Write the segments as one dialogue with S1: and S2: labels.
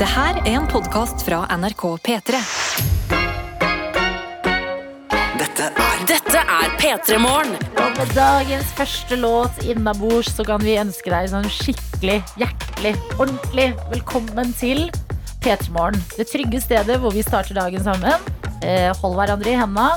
S1: Det her er en podkast fra NRK P3.
S2: Dette er
S3: Dette er P3 Morgen.
S4: Og med dagens første låt innabords så kan vi ønske deg sånn skikkelig, hjertelig, ordentlig velkommen til P3morgen. Det trygge stedet hvor vi starter dagen sammen. Eh, Hold hverandre i henda,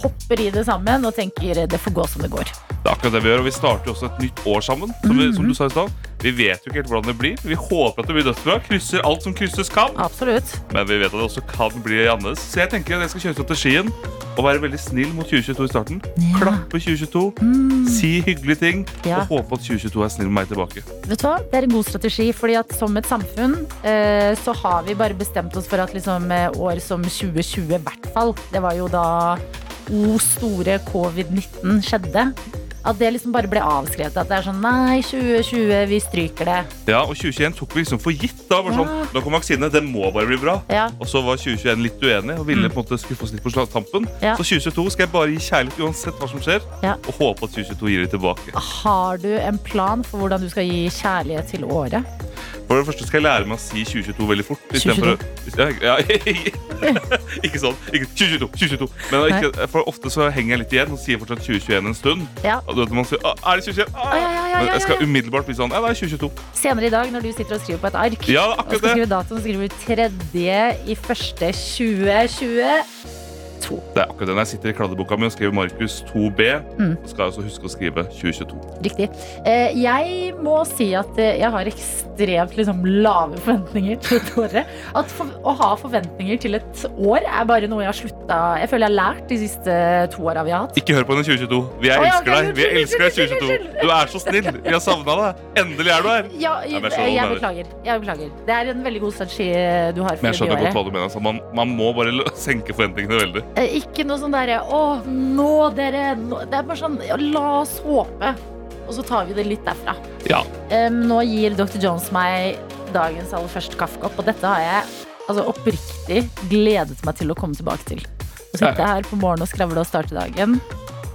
S4: hopper i det sammen og tenker eh, det får gå som det går.
S5: Det er akkurat det vi gjør, og vi starter jo også et nytt år sammen. Som, vi,
S4: Mhm.
S5: som du sa i stad. Vi vet jo ikke helt hvordan det blir. Vi håper at det blir dødsbra. Krysser alt som krysses kan.
S4: Absolutt.
S5: Men vi vet at det også kan bli annerledes. Så jeg tenker at jeg skal kjøre strategien og være veldig snill mot 2022 i starten. Klappe 2022, si hyggelige ting
S4: Mm. Ja.
S5: og håpe at 2022 er snill med meg tilbake.
S4: Vet du hva? Det er en god strategi, fordi at som et samfunn eh, så har vi bare bestemt oss for at liksom, eh, år som 2020 i hvert fall, det var jo da O store covid-19 skjedde, at det liksom bare ble avskrevet. At det er sånn nei, 2020, vi stryker det.
S5: Ja, Og 2021 tok vi liksom for gitt. da, bare
S4: Ja.
S5: sånn, Nå kom vaksinene, det må bare bli bra.
S4: Ja, Mm.
S5: Og så var 2021 litt uenig og ville på en måte skuffe oss litt på slag- tampen.
S4: Ja.
S5: Så 2022 skal jeg bare gi kjærlighet uansett hva som skjer,
S4: Ja.
S5: og håpe at 2022 gir det tilbake.
S4: Har du en plan for hvordan du skal gi kjærlighet til året?
S5: For det første skal jeg lære meg å si 2022 veldig fort. i stedet for å- Ja, ja, ikke sånn. Ikke 2022, 2022. Men ikke, for ofte så henger jeg litt igjen og sier fortsatt 2021 en stund.
S4: Ja.
S5: Og du vet, man sier, «Ah, er det 2021? Ah!»
S4: Ja, ja, ja,
S5: Men
S4: ja,
S5: jeg skal
S4: ja.
S5: umiddelbart bli sånn. Ja, det er 2022.
S4: Senere i dag, når du sitter og skriver på et ark,
S5: Ja,
S4: og
S5: akkurat
S4: skal
S5: det.
S4: skrive datoen, skriver du 3. i første 2020.
S5: Det er akkurat det. Når jeg sitter i kladdeboka mi og skriver Markus 2B,
S4: Mm.
S5: så skal jeg også huske å skrive 2022.
S4: Riktig. Eh, jeg må si at eh, jeg har ekstremt liksom, lave forventninger til dette året. At for, å ha forventninger til et år er bare noe jeg har slutta Jeg føler jeg har lært de siste to åra vi har hatt.
S5: Ikke hør på henne 2022.
S4: Å,
S5: Vi
S4: ja,
S5: elsker
S4: ok,
S5: deg. Vi
S4: unnskyld,
S5: elsker deg
S4: unnskyld,
S5: 2022. Du er så snill. Vi har savna deg. Endelig er du her.
S4: Ja,
S5: Ja,
S4: jeg,
S5: men jeg skjønner hva du
S4: beklager. jeg beklager. Det er en veldig god strategi eh, du har for
S5: Men jeg skjønner
S4: det
S5: godt hva du mener. altså. Man, man må bare lø- senke forventningene veldig.
S4: Eh, Ikke noe sånn derre Å, nå, dere! Nå. Det er bare sånn ja, La oss håpe. Og så tar vi det litt derfra.
S5: Ja.
S4: Em, nå gir Dr. Jones meg dagens aller første kaffekopp, og dette har jeg altså, oppriktig gledet meg til å komme tilbake til. Å sitte her på morgenen og skravle og starte dagen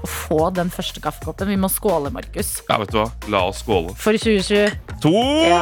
S4: og få den første kaffekoppen. Vi må skåle, Markus.
S5: Ja, vet du hva? La oss skåle.
S4: For 2020.
S5: To!
S4: Ja.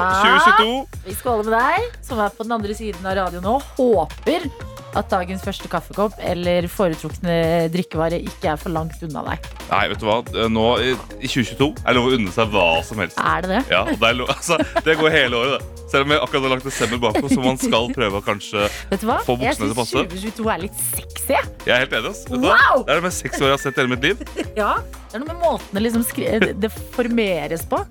S5: 2022!
S4: Vi skåler med deg, som er på den andre siden av radioen nå. Håper at dagens første kaffekopp eller foretrukne drikkevare ikke er for langt unna deg.
S5: Nei, vet du hva? Eh, Nå i i 2022 er det lov å unne seg hva som helst.
S4: Er det det?
S5: Ja, og det, er lov, altså, det går hele året, det. Selv om jeg akkurat har lagt desember bak oss, så man skal prøve å kanskje
S4: Vet du hva?
S5: Få buksene
S4: Jeg
S5: til å
S4: syns
S5: passe.
S4: 2022 er litt sexy. jeg.
S5: Jeg er helt enig. ass. Vet du hva?
S4: Wow!
S5: Det er det mest sexy året jeg har sett i hele mitt liv.
S4: Ja, det er noe med måten det liksom skri- det- det formeres på.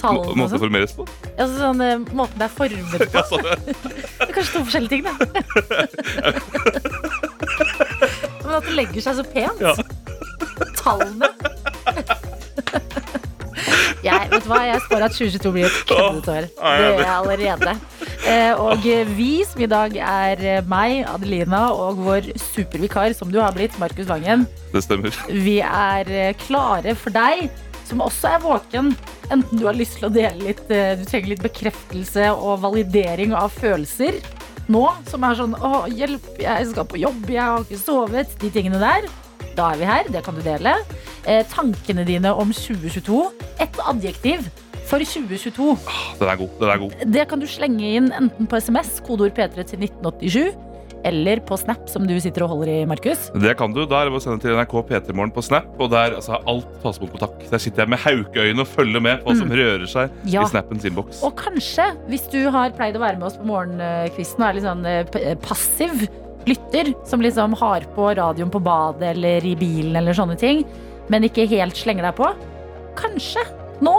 S5: Må-
S4: Tallene og
S5: Måte å
S4: sånn.
S5: formeres på.
S4: Altså sånn, eh, måten det er formet på.
S5: Ja, sånn, ja.
S4: Det er kanskje to forskjellige ting, da. Men at det legger seg så pent.
S5: Ja.
S4: Tallene. Jeg, vet du hva? jeg spår at 2022 blir et køddete år.
S5: Åh, jeg
S4: Det
S5: er
S4: gjør jeg allerede. Eh, Og vi som i dag er eh, meg, Adelina, og vår supervikar, som du har blitt, Markus Vangen.
S5: Det stemmer.
S4: Vi er eh, klare for deg som også er våken. Enten du har lyst til å dele litt, eh, du trenger litt bekreftelse og validering av følelser nå, som er sånn Å, hjelp, jeg skal på jobb, jeg har ikke sovet. De tingene der. Da er vi her. Det kan du dele. Eh, tankene dine om 2022. Ett adjektiv for 2022.
S5: Ah, Den er god. den er god.
S4: Det kan du slenge inn enten på SMS, kodeord P3 til 1987, eller på Snap, som du sitter og holder i, Markus.
S5: Det kan du. Da er det bare å sende til NRK P3morgen på Snap. Og der altså, alt tas imot på takk. Der sitter jeg med haukeøyne og følger med på hva som rører seg
S4: Mm. Ja.
S5: i Snappens innboks.
S4: Og kanskje, hvis du har pleid å være med oss på morgenkvisten og er litt sånn eh, p- eh, passiv lytter, som liksom har på radioen på badet eller i bilen eller sånne ting, men ikke helt slenger deg på, kanskje nå,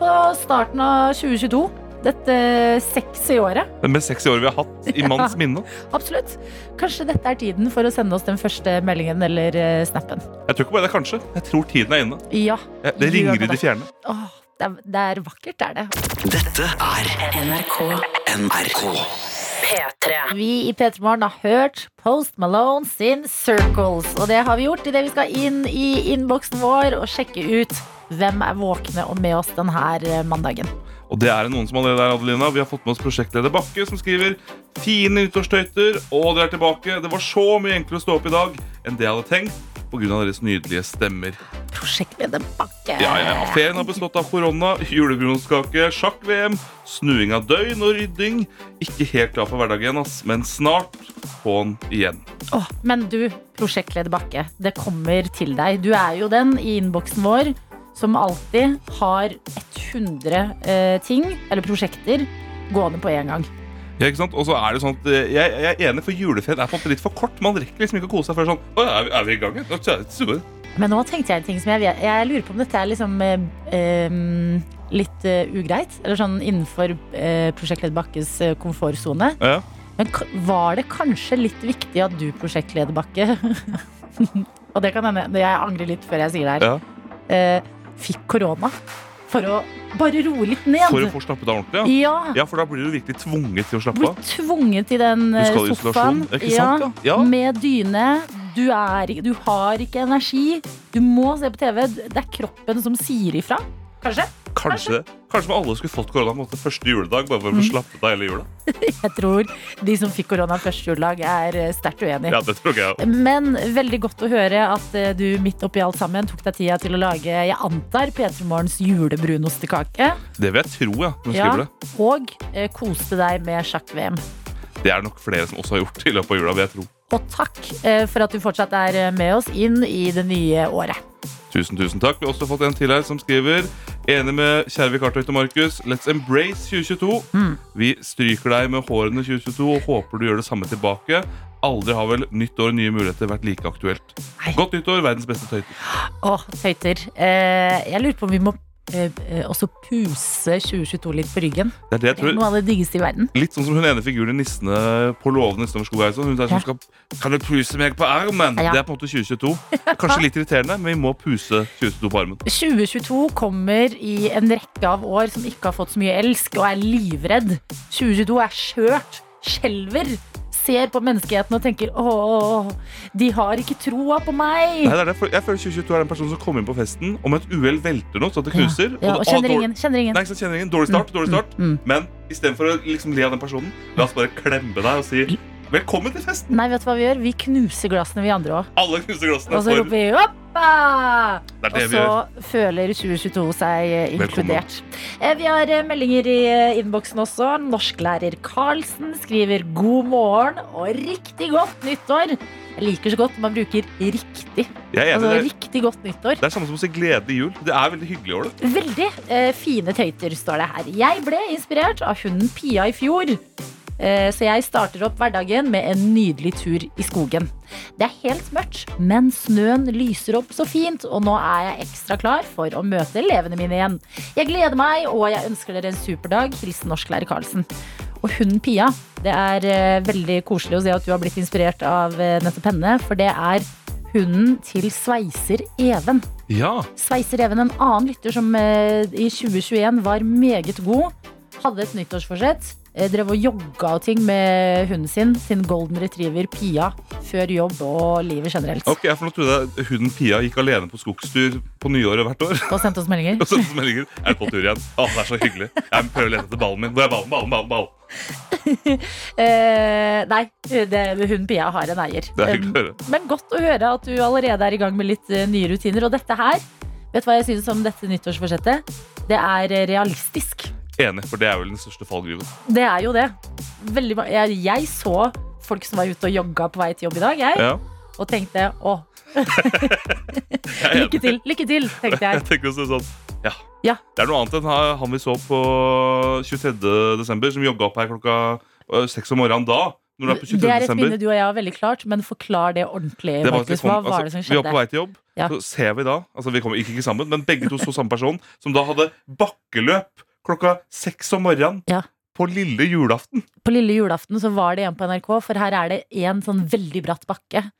S4: på starten av 2022, dette sexy året,
S5: Det mest sexy året vi har hatt i manns minne.
S4: absolutt, kanskje dette er tiden for å sende oss den første meldingen eller eh, snappen.
S5: Jeg tror ikke bare det er kanskje. Jeg tror tiden er inne.
S4: Ja,
S5: Jeg- Det
S4: Gjør
S5: ringer i
S4: det.
S5: det fjerne.
S4: åh, det er, det er vakkert, er det.
S2: Dette er
S3: NRK
S2: NRK.
S3: P3.
S4: Vi i P3 Morgen har hørt Post Malone sin Circles. Og det har vi gjort idet vi skal inn i innboksen vår og sjekke ut hvem er våkne og med oss denne eh, mandagen.
S5: Og det er noen som allerede er Adelina. Vi har fått med oss prosjektleder Bakke, som skriver Fine nyttårstøyter, og dere er tilbake. Det var så mye enklere å stå opp i dag enn det jeg hadde tenkt. pga. deres nydelige stemmer.
S4: Prosjekt med en bakke.
S5: Ja, ja, ja. Ferien har bestått av korona, julebrunstkake, sjakk-VM, snuing av døgn og rydding. Ikke helt klar for hverdagen, ass, men snart på'n igjen.
S4: Åh, men du, prosjektleder Bakke, det kommer til deg. Du er jo den i innboksen vår som alltid har 100 eh, ting, eller prosjekter, gående på én gang.
S5: Ja, ikke sant? Og så er det sånn at eh, jeg, jeg er enig, for juleferien er på en måte litt for kort. Man rekker liksom ikke å kose seg før sånn Å, er vi, er vi i gang? igjen? Å, tja, tja,
S4: Men nå tenkte jeg en ting som jeg, vet- jeg lurer på om dette er liksom eh, eh, litt eh, ugreit. Eller sånn innenfor eh, prosjektleder Bakkes eh, komfortsone.
S5: tja. Ja.
S4: Men k- var det kanskje litt viktig at du, prosjektleder Bakke Og det kan hende, jeg angrer litt før jeg sier det her.
S5: Ja.
S4: eh, fikk korona for å bare roe litt ned.
S5: For å få slappet av ordentlig, ja.
S4: ja.
S5: Ja, for da blir du virkelig tvunget til å slappe
S4: Blir
S5: av.
S4: tvunget i den
S5: Du
S4: eh,
S5: skal i
S4: sofaen. Mm.
S5: isolasjon. Ikke sant? Ja. ja.
S4: Med dyne. Du, er, ikke- du har ikke energi. Du må se på TV. Det er kroppen som sier ifra. Kanskje?
S5: Kanskje, kanskje alle skulle fått korona på en måte første juledag, bare for å få
S4: Mm.
S5: slappet av hele jula.
S4: Jeg tror de som fikk korona første juledag, er eh, sterkt uenig.
S5: Ja, det tror ikke jeg også.
S4: Men veldig godt å høre at eh, du midt oppi alt sammen tok deg tida til å lage, jeg antar, P3 Morgens julebrunostekakke.
S5: Det vil jeg tro, ja. når jeg
S4: Ja,
S5: skriver Det
S4: og eh, koste deg med sjakk-VM.
S5: Det er det nok flere som også har gjort i løpet av jula. vil jeg tro.
S4: Og takk eh, for at du fortsatt er eh, med oss inn i det nye året.
S5: Tusen, tusen takk. Vi har også fått en til her som skriver Enig med kjære vikartøyte Markus. Let's embrace 2022.
S4: Mm.
S5: Vi stryker deg med hårene 2022 og håper du gjør det samme tilbake. Aldri har vel nytt år nye muligheter vært like aktuelt.
S4: Nei.
S5: Godt nytt år, verdens beste tøyter.
S4: Å, tøyter. Eh, jeg lurer på om vi må eh, eh, også puse 2022 litt på ryggen.
S5: Det er det jeg
S4: Det er
S5: tror.
S4: noe av det diggeste i verden.
S5: Litt sånn som hun ene figuren i Nissene på låven i Stormskogheisen. sånn. Hun der som skal Kan du puse meg på armen?
S4: Ja.
S5: Det er på en måte 2022. Kanskje litt irriterende, men vi må puse 2022 på armen.
S4: 2022 kommer i en rekke av år som ikke har fått så mye elsk, og er livredd. 2022 er skjørt, skjelver, ser på menneskeheten og tenker åh, de har ikke troa på meg.
S5: Nei, det er det. For Jeg føler 2022 er den personen som kommer inn på festen, og med et uhell velter noe så det knuser.
S4: Ja, og kjenner
S5: dårlig-
S4: ingen. Kjenner ingen.
S5: Nei, ikke sant, kjenner ingen. Dårlig start, dårlig start.
S4: mm.
S5: Men istedenfor å liksom le av den personen, la oss bare klemme deg og si velkommen til festen.
S4: Nei, vet du hva vi gjør? Vi knuser glassene, vi andre òg.
S5: Alle knuser glassene.
S4: Og så
S5: for-
S4: roper vi «Hoppa!»
S5: Det er
S4: Og
S5: det vi
S4: så
S5: gjør.
S4: føler 2022 seg eh,
S5: Velkommen.
S4: inkludert. Eh, Vi har eh, meldinger i eh, innboksen også. Norsklærer Karlsen skriver 'god morgen' og 'riktig godt nyttår'. Jeg liker så godt man bruker 'riktig'.
S5: Jeg er enig.
S4: Altså
S5: det,
S4: riktig godt nyttår.
S5: det er samme som å si gledelig jul. Det er veldig hyggelig over det.
S4: Veldig eh, fine tøyter, står det her. Jeg ble inspirert av hunden Pia i fjor. Eh, Så jeg starter opp hverdagen med en nydelig tur i skogen. Det er helt mørkt, men snøen lyser opp så fint, og nå er jeg ekstra klar for å møte elevene mine igjen. Jeg gleder meg, og jeg ønsker dere en super dag. Hilsen norsklærer Karlsen. Og hunden Pia, det er eh, veldig koselig å se at du har blitt inspirert av eh, nettopp henne, for det er hunden til sveiser Even.
S5: Ja.
S4: Sveisereven, en annen lytter som eh, i 2021 var meget god, hadde et nyttårsforsett. eh, Drev og jogga og ting med hunden sin, sin golden retriever Pia, før jobb og livet generelt.
S5: Ok, jeg for nå trodde jeg hunden Pia gikk alene på skogstur på nyåret hvert år.
S4: Og sendte oss meldinger.
S5: Og så som jeg ligger, er på tur igjen. Å, det er så hyggelig. Jeg prøver å lete etter ballen min. Hvor er ballen, ballen, ballen, ballen?
S4: Eh, nei, det, hunden Pia har en eier.
S5: Det er hyggelig
S4: Eh,
S5: å høre.
S4: Men godt å høre at du allerede er i gang med litt eh, nye rutiner. Og dette her, vet du hva jeg synes om dette nyttårsforsettet? Det er eh, realistisk.
S5: Enig, for det er vel den største fallgruven.
S4: Det er jo det. Veldig, ma- jeg, jeg så folk som var ute og jogga på vei til jobb i dag, jeg.
S5: Ja.
S4: og tenkte å, lykke til, lykke til, tenkte
S5: Jeg
S4: jeg.
S5: tenker også sånn, ja.
S4: Ja.
S5: Det er noe annet enn ha- han vi så på 23. desember, som jogget opp her klokka øh, seks om morgenen da. Når du er på 23.
S4: Det er et
S5: desember.
S4: minne du og jeg har veldig klart, men forklar det ordentlig,
S5: Det var at vi
S4: Markus. Hva
S5: kom-
S4: var det
S5: altså,
S4: som
S5: Vi var på
S4: skjedde?
S5: vei til jobb,
S4: Ja.
S5: så ser vi da altså Vi kommer ikke, ikke sammen, men begge to så samme person, som da hadde bakkeløp klokka seks om morgenen
S4: Ja.
S5: på lille julaften.
S4: På lille julaften så var det en på NRK, for her er det en sånn veldig bratt bakke.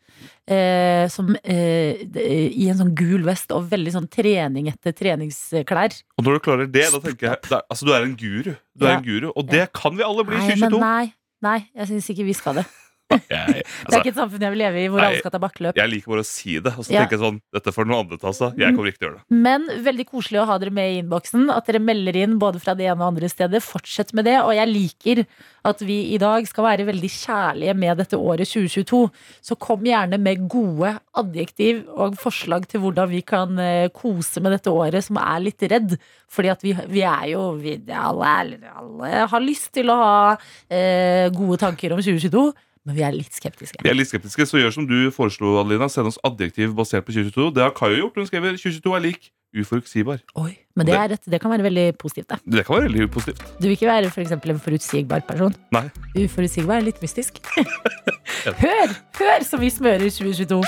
S4: Eh, som eh, d- I en sånn gul vest og veldig sånn trening etter treningsklær.
S5: Og når du klarer det, da tenker jeg det er, Altså, du er en guru. Du
S4: Ja.
S5: er en guru, og det kan vi alle bli i
S4: Nei, men
S5: 2022.
S4: nei, nei, jeg syns ikke vi skal det.
S5: Jeg,
S4: Det er
S5: altså,
S4: ikke et samfunn jeg vil leve i hvor
S5: Nei.
S4: alle skal ta bakkeløp.
S5: jeg liker bare å si det, og så
S4: Ja.
S5: tenker jeg sånn Dette får noen andre ta seg av. Jeg kommer ikke til å gjøre det.
S4: Men veldig koselig å ha dere med i innboksen. At dere melder inn både fra det ene og andre stedet. Fortsett med det. Og jeg liker at vi i dag skal være veldig kjærlige med dette året 2022. Så kom gjerne med gode adjektiv og forslag til hvordan vi kan eh, kose med dette året som er litt redd. Fordi at vi, vi er jo vi, alle, er- alle har lyst til å ha eh, gode tanker om 2022, men vi er litt skeptiske.
S5: Vi er litt skeptiske, så gjør som du foreslo, Adelina. Send oss adjektiv basert på 2022. Det har Kayo gjort. Hun skriver 2022 er lik uforutsigbar.
S4: Oi, men det er rett. Det kan være veldig positivt. Det.
S5: Det kan være veldig positivt.
S4: Du vil ikke være for eksempel en forutsigbar person.
S5: Nei.
S4: Uforutsigbar, litt mystisk. hør, hør som vi smører 2022.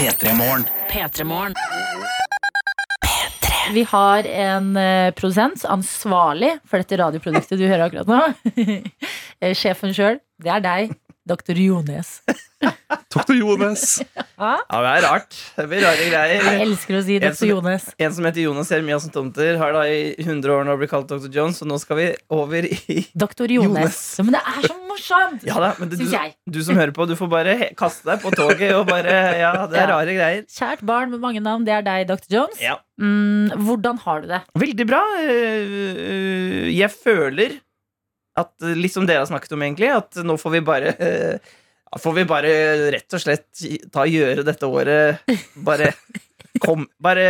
S2: P3 Morgen.
S3: P3morgen.
S4: Vi har en eh, produsent ansvarlig for dette radioproduktet du hører akkurat nå. Eh, Sjefen sjøl, det er deg, doktor Jones.
S5: Doktor Jones.
S6: Ja, det er rart. Det blir rare
S4: Jeg
S6: greier.
S4: elsker å si doktor Jones.
S6: En som heter Jonas Jeremiassen Tomter, har da i 100 år nå blitt kalt Dr. Jones, og nå skal vi over i
S4: Doktor Jones.
S6: Jones.
S4: Ja, men det er så morsomt!
S6: Ja da, men det, du,
S4: Synes jeg.
S6: du som hører på, du får bare he- kaste deg på toget og bare Ja, det er
S4: Ja.
S6: rare greier.
S4: Kjært barn med mange navn, det er deg, doktor Jones.
S6: Ja.
S4: Mm, hvordan har du det?
S6: Veldig bra. Eh, Jeg føler at eh, litt som dere har snakket om, egentlig, at nå får vi bare eh, ja, Får vi bare rett og slett ta gjøre dette året Bare kom Bare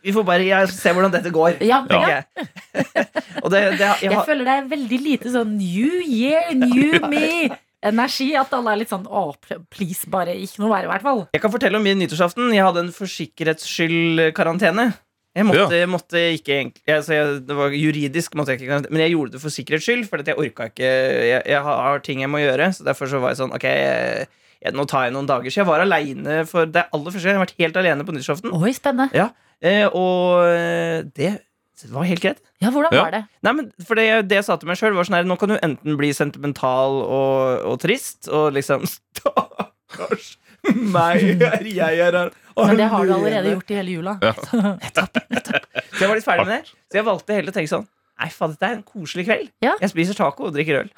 S6: Vi får bare jeg, se hvordan dette går.
S4: Ja,
S6: tenker
S4: ja.
S6: jeg. og det, det jeg,
S4: Jeg
S6: har-
S4: føler det er veldig lite sånn new year, new me. Energi. At alle er litt sånn å, pl- please, bare ikke noe verre, i hvert fall.
S6: jeg kan fortelle om min nyttårsaften. Jeg hadde en for sikkerhets skyld karantene. Jeg måtte, måtte ikke egentlig altså jeg, Det var juridisk, måtte jeg ikke karantene, men jeg gjorde det for sikkerhets skyld. For at jeg orka ikke jeg, jeg har ting jeg må gjøre. Så derfor så var jeg sånn Ok, jeg, jeg, nå tar jeg noen dager. Så jeg var aleine for det er aller første gang. Jeg har vært helt alene på nyttårsaften.
S4: Oi, spennende.
S6: Eh, og eh, det var helt greit.
S4: Ja, hvordan
S5: Ja.
S4: var det?
S6: Nei, men for det, det jeg sa til meg sjøl, var sånn her Nå kan du enten bli sentimental og, og trist, og liksom Stakkars meg, jeg er her
S4: Men det har du allerede gjort i hele jula.
S5: Ja.
S6: Så jeg var litt ferdig med det. Så jeg valgte heller å tenke sånn Nei, faen, dette er en koselig kveld.
S4: Ja.
S6: Jeg spiser taco og drikker øl.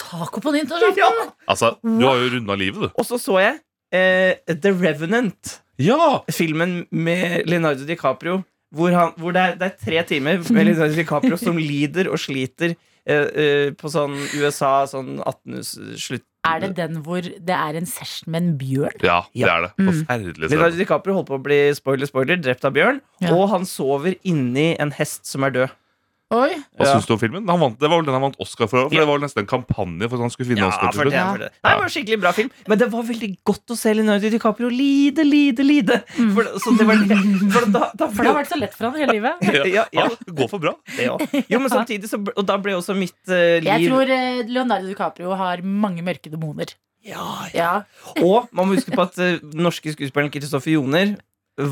S4: Taco på nyttårsaften!
S6: Ja.
S5: Altså, du har jo runda livet, du.
S6: Og så så jeg eh, The Revenant,
S5: Ja!
S6: filmen med Leonardo DiCaprio, hvor, han, hvor det, er, det er tre timer med Leonardo DiCaprio som lider og sliter eh, eh, på sånn USA, sånn 1800-slutt
S4: Er det den hvor det er en session med en bjørn?
S5: Ja, det er det.
S4: Mm.
S5: Forferdelig.
S6: Leonardo
S5: scene.
S6: DiCaprio holdt på å bli spoiler, spoiler, drept av bjørn.
S4: Ja.
S6: Og han sover inni en hest som er død.
S4: Oi.
S5: Hva
S6: Ja.
S5: syns du om filmen? Han vant, det var vel den han vant Oscar for, for
S6: Ja.
S5: det var vel nesten en kampanje for at han skulle vinne
S6: Ja,
S5: Oscar
S6: for
S5: til
S6: det,
S5: slutt.
S6: for det. Nei, det var en skikkelig bra film, men det var veldig godt å se Leonardo DiCaprio lide, lide, lide. For, det- så det var for da, da,
S4: For det har vært så lett for han hele livet.
S6: Ja, ja,
S5: Ja, det går for bra.
S6: det også. Jo, men samtidig så, Og da ble også mitt eh, liv
S4: Jeg tror eh, Leonardo DiCaprio har mange mørke demoner.
S6: ja, ja.
S4: Ja.
S6: Og man må huske på at eh, den norske skuespilleren Kristoffer Joner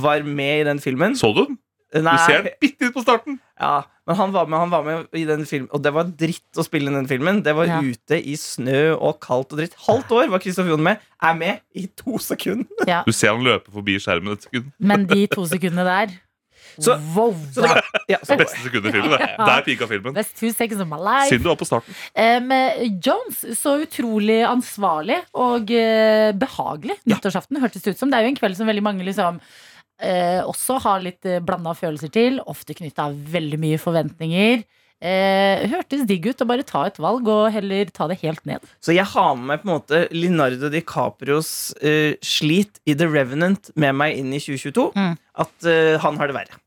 S6: var med i den filmen.
S5: Så du den? Du
S6: Nei,
S5: ser den bitte litt på starten.
S6: Ja, men han var med, han var med i den filmen, og det var dritt å spille i den filmen. Det var
S4: Ja.
S6: ute i snø og kaldt og dritt. Halvt år var Kristoffer Joner med. Er med i to sekunder.
S4: ja.
S5: Du ser han løpe forbi skjermen et sekund.
S4: Men de to sekundene der
S6: Så-
S4: Wow!
S6: Så det var, ja, så,
S5: Beste sekundet i filmen. Det. Der pika filmen.
S4: That's two seconds of my life.
S5: Siden du var på starten.
S4: Em, Eh, Jones så utrolig ansvarlig og eh, behagelig nyttårsaften, hørtes det ut som. Det er jo en kveld som veldig mange liksom eh, også har litt eh, blanda følelser til. Ofte knytta veldig mye forventninger. Eh, hørtes digg ut å bare ta et valg og heller ta det helt ned.
S6: så jeg har med meg på en måte Linardo DiCaprios eh, slit i The Revenant med meg inn i 2022.
S4: Mm.
S6: At eh, han har det verre.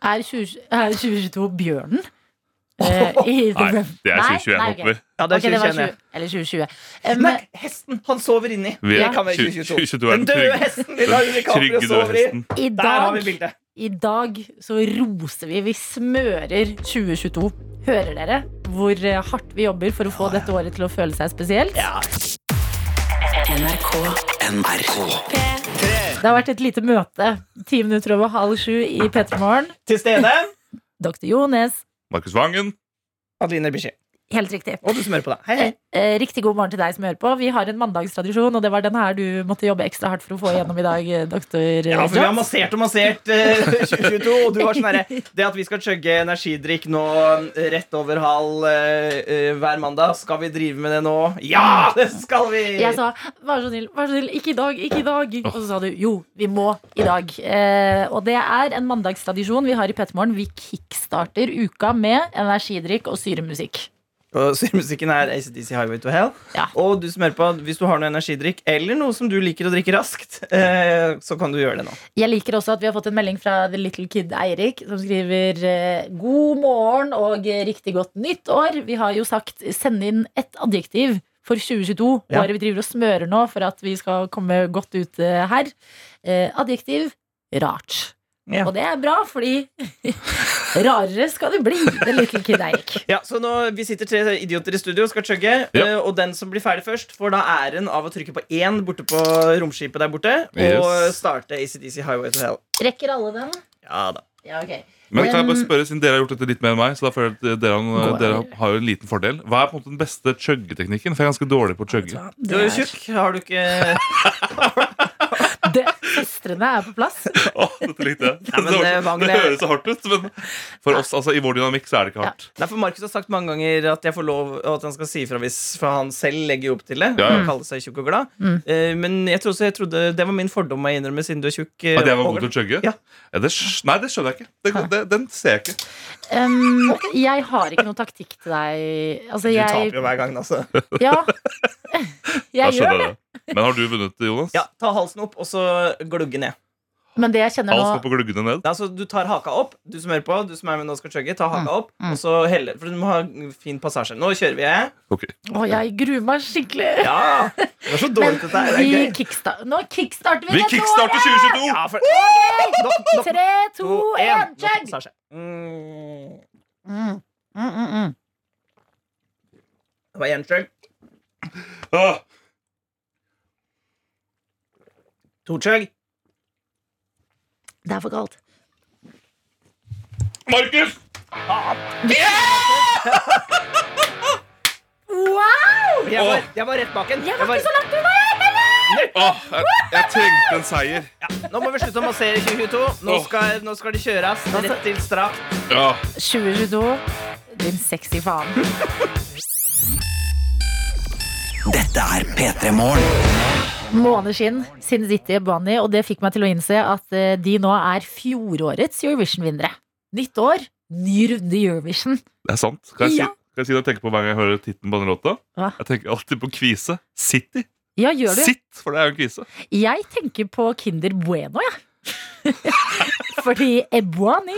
S4: Er, 20, er 2022 bjørnen? Eh, i The
S5: Nei,
S4: Rev-
S5: det er
S4: Nei,
S5: 2021,
S4: nei,
S5: håper vi.
S6: Ja,
S4: ok.
S6: det er
S4: Ok, det var Eh,
S6: 2021, ja.
S4: 20, eller 2020. Em,
S6: Nei, hesten! Han sover inni.
S5: Vi
S6: Det
S5: er-
S6: kan være
S5: 2022
S6: 2022.
S5: er
S6: Den
S5: den
S6: døde
S5: trygge-
S6: hesten! Leonardo
S5: Den
S6: DiCaprio
S5: trygge
S6: sover i.
S5: dødhesten.
S4: I
S6: Der har
S4: dag
S6: vi bildet.
S4: I dag så roser vi, vi smører 2022. Hører dere hvor eh, hardt vi jobber for å få dette året til å føle seg spesielt?
S3: NRK.
S2: NRK.
S4: Det har vært et lite møte ti minutter over halv sju i P3 Morgen.
S6: Til stede
S4: Dr. Jones,
S5: Markus Vangen.
S6: Adeline Biché.
S4: Helt riktig.
S6: Og du smører på deg. Hei, hei.
S4: Eh, Riktig god morgen til deg som hører på. Vi har en mandagstradisjon, og det var den her du måtte jobbe ekstra hardt for å få igjennom i dag, eh, doktor eh,
S6: Ja, for vi har
S4: Jones.
S6: massert og massert eh, 2022, og du var sånn herre Det at vi skal chugge energidrikk nå eh, rett over halv eh, eh, hver mandag, skal vi drive med det nå? Ja, det skal vi!
S4: Jeg sa vær så snill, vær så snill, ikke i dag, ikke i dag. Og så sa du jo, vi må i dag. Eh, og det er en mandagstradisjon vi har i Petermorgen. Vi kickstarter uka med energidrikk og syremusikk.
S6: Og Syrmusikken er ACDC Highway to Hell.
S4: Ja.
S6: Og du smører på hvis du har noe energidrikk eller noe som du liker å drikke raskt, eh, så kan du gjøre det nå.
S4: Jeg liker også at vi har fått en melding fra The Little Kid Eirik, som skriver eh, god morgen og eh, riktig godt nytt år. Vi har jo sagt send inn ett adjektiv for 2022,
S6: Ja.
S4: året vi driver og smører nå for at vi skal komme godt ut eh, her. Eh, Adjektiv rart.
S6: Ja.
S4: Og det er bra, fordi rarere skal det bli, The Little Kid Eirik.
S6: Ja, så nå, Vi sitter tre idioter i studio og skal chugge.
S5: Ja.
S6: eh, Og den som blir ferdig først, får da æren av å trykke på én borte på romskipet der borte. Og
S5: Yes.
S6: starte ACDC Highway to Hell.
S4: Rekker alle den?
S6: Ja da.
S4: Ja, ok.
S5: Men kan jeg bare
S4: Men-
S5: spørre, siden dere har gjort dette litt mer enn meg, så da føler jeg at dere, har-
S4: Går.
S5: dere har jo en liten fordel. Hva er på en måte den beste chuggeteknikken? For jeg er ganske dårlig på å chugge.
S6: Du er jo tjukk. Har du ikke Nei,
S4: Det, søstrene er på plass.
S5: Åh, dette likte jeg.
S6: Nei, men, eh,
S5: det, var-
S6: Wagner-
S5: det høres så hardt ut, men for oss, altså, i vår dynamikk så er det ikke hardt.
S6: for Markus har sagt mange ganger at jeg får lov og at han skal si ifra hvis For han selv legger jo opp til det.
S5: Ja, ja.
S6: Han kaller seg tjukk og glad. Eh, Men jeg tror også, jeg trodde, det var min fordom å innrømme siden du er tjukk. eh,
S5: At jeg var
S6: over
S5: god til å chugge?
S6: Ja.
S5: Ja, det, skj- nei, det skjønner jeg ikke. Det, det, den ser jeg ikke.
S4: Um, jeg har ikke noen taktikk til deg. Altså,
S6: Du
S4: jeg,
S6: taper jo hver gang, altså.
S4: Ja.
S5: Da
S4: Jeg
S5: skjønner
S4: gjør det.
S5: jeg det. Men har du vunnet, Jonas?
S6: Ja, Ta halsen opp, og så glugge ned.
S4: Men det jeg kjenner
S5: Alt skal
S4: nå
S5: på gluggene ned?
S6: Altså, du tar haka opp, du som hører på, du som er med nå og skal chugge, ta haka opp,
S4: mm.
S6: og så helle For du må ha fin passasje. Nå kjører vi.
S5: Ok.
S4: Å, jeg gruer meg skikkelig.
S6: Ja! Det var så dårlig
S4: Men
S6: til dette her. Det
S4: vi
S6: er gøy.
S4: kickstarter Nå kickstarter vi
S5: Vi
S4: dette året!
S5: kickstarter 2022!
S6: Ja, for... Nå- nå-
S4: Tre, to,
S6: to,
S4: én,
S6: en,
S4: chug!
S6: passasje. Mm.
S4: Mm, mm, mm, mm.
S6: Det var én chug.
S5: Åh,
S6: To chug.
S4: Det er for galt.
S5: Markus!
S4: Wow!
S6: Jeg var,
S5: Åh.
S6: jeg var rett bak en.
S4: Jeg
S6: Jeg
S4: var
S6: var-
S4: ikke så langt unna! jeg, men-
S5: Åh, jeg, jeg trengte en seier.
S6: Nå må vi slutte å massere 2022. Nå
S5: Åh.
S6: skal, nå skal det kjøres rett til strakt.
S5: Ja.
S4: 2022. Din sexy faen.
S2: Dette er P3 Morgen.
S4: Måneskinn, Sin City Bunny, og det fikk meg til å innse at eh, de nå er fjorårets Eurovision-vinnere. Nytt år, ny runde i Eurovision.
S5: Det er sant. Kan jeg,
S4: Ja.
S5: si, kan jeg si det jeg tenker på hver gang jeg hører tittelen på den låta?
S4: Hva?
S5: Jeg tenker alltid på kvise. City.
S4: Ja, gjør du?
S5: Sitt, for det er jo en kvise.
S4: Jeg tenker på Kinder Bueno, jeg. Fordi Ebwani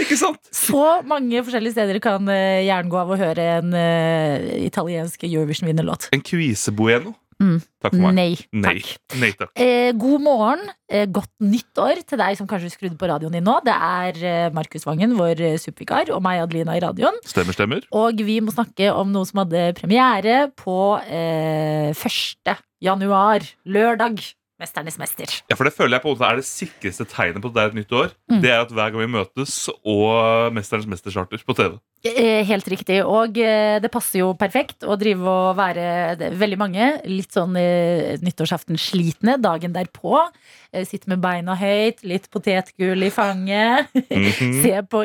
S5: Ikke sant?
S4: Så mange forskjellige steder kan eh, hjernen gå av å høre en eh, italiensk Eurovision-vinnerlåt.
S5: En kvise-bueno.
S4: Mm.
S5: Takk for meg.
S4: Nei,
S5: Nei.
S4: takk.
S5: Nei takk.
S4: Eh, god morgen, eh, godt nytt år til deg som kanskje skrudde på radioen din nå. Det er eh, Markus Vangen, vår eh, supervikar, og meg, Adelina, i radioen.
S5: Stemmer, stemmer.
S4: Og vi må snakke om noe som hadde premiere på eh, 1. januar, lørdag. Mesternes mester.
S5: Ja, for det føler jeg på en måte er det sikreste tegnet på at det er et nytt år.
S4: Mm.
S5: Det er at hver gang vi møtes og Mesterens mester charter på TV.
S4: Eh, Helt riktig. Og eh, det passer jo perfekt å drive og være det er veldig mange litt sånn eh, nyttårsaften-slitne dagen derpå. Eh, Sitte med beina høyt, litt potetgull i fanget.
S5: Mhm.
S4: Se på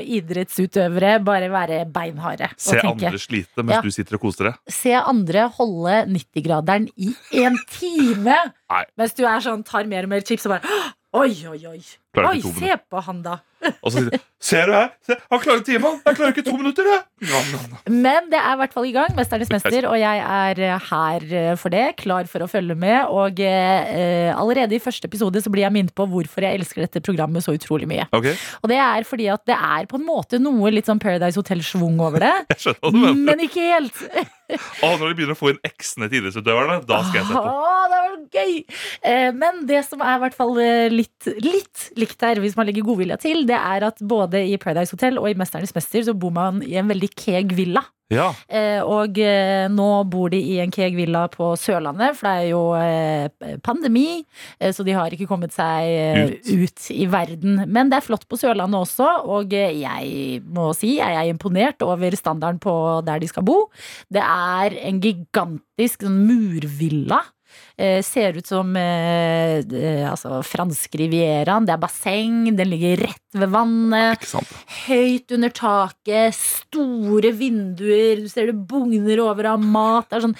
S4: idrettsutøvere, bare være beinharde. og
S5: Se
S4: tenke,
S5: andre slite mens
S4: Ja.
S5: du sitter og koser deg.
S4: se andre holde 90-graderen i en time!
S5: Nei.
S4: Mens du er sånn, tar mer og mer chips og bare «Åh, Oi, oi, oi.
S5: Klarer
S4: Oi,
S5: ikke to minutter.
S4: se på han, da.
S5: Og så sier du Ser du her? Se, han klarer timen! Jeg klarer ikke to minutter, jeg! Ja, ja, ja.
S4: Men det er i hvert fall i gang, Mesternes mester, og jeg er eh, her eh, for det. Klar for å følge med. Og eh, eh, allerede i første episode så blir jeg minnet på hvorfor jeg elsker dette programmet så utrolig mye.
S5: Ok,
S4: Og det er fordi at det er på en måte noe litt sånn Paradise Hotel-schwung over det.
S5: jeg skjønner hva du mener.
S4: Men ikke helt. Mm.
S5: Å, når de begynner å få inn eksene til idrettsutøverne, da skal jeg se på.
S4: Åh, det var gøy! Eh, Men det som er i hvert fall eh, litt, litt likt her, hvis man legger godvilja til, det er at både i Paradise Hotel og i Mesternes mester så bor man i en veldig keeg villa.
S5: Ja.
S4: Eh, Og eh, nå bor de i en keeg villa på Sørlandet, for det er jo eh, pandemi, eh, så de har ikke kommet seg eh,
S5: Ut.
S4: ut i verden. Men det er flott på Sørlandet også, og eh, jeg må si jeg er imponert over standarden på der de skal bo. Det er en gigantisk sånn murvilla. Eh, ser ut som eh, eh, altså, franske rivieraen. Det er basseng, den ligger rett ved vannet.
S5: Ikke sant.
S4: Høyt under taket, store vinduer, du ser det bugner over av mat. Det er sånn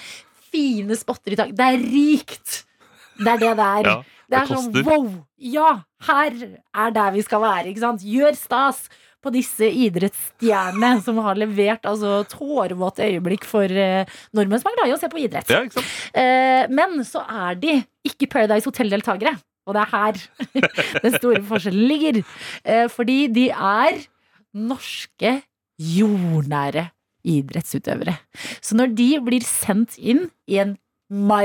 S4: fine spotter i taket. Det er rikt! Det er det det er.
S5: Ja,
S4: det,
S5: det
S4: er sånn
S5: koster.
S4: wow! Ja, her er der vi skal være, ikke sant? Gjør stas på disse idrettsstjernene som har levert altså, tårevåte øyeblikk for eh, nordmenn som er glad i å se på idrett.
S5: Ja, ikke sant?
S4: Eh, men så er de ikke Paradise Hotel-deltakere. Og det er her den store forskjellen ligger. Eh, fordi de er norske, jordnære idrettsutøvere. Så når de blir sendt inn i en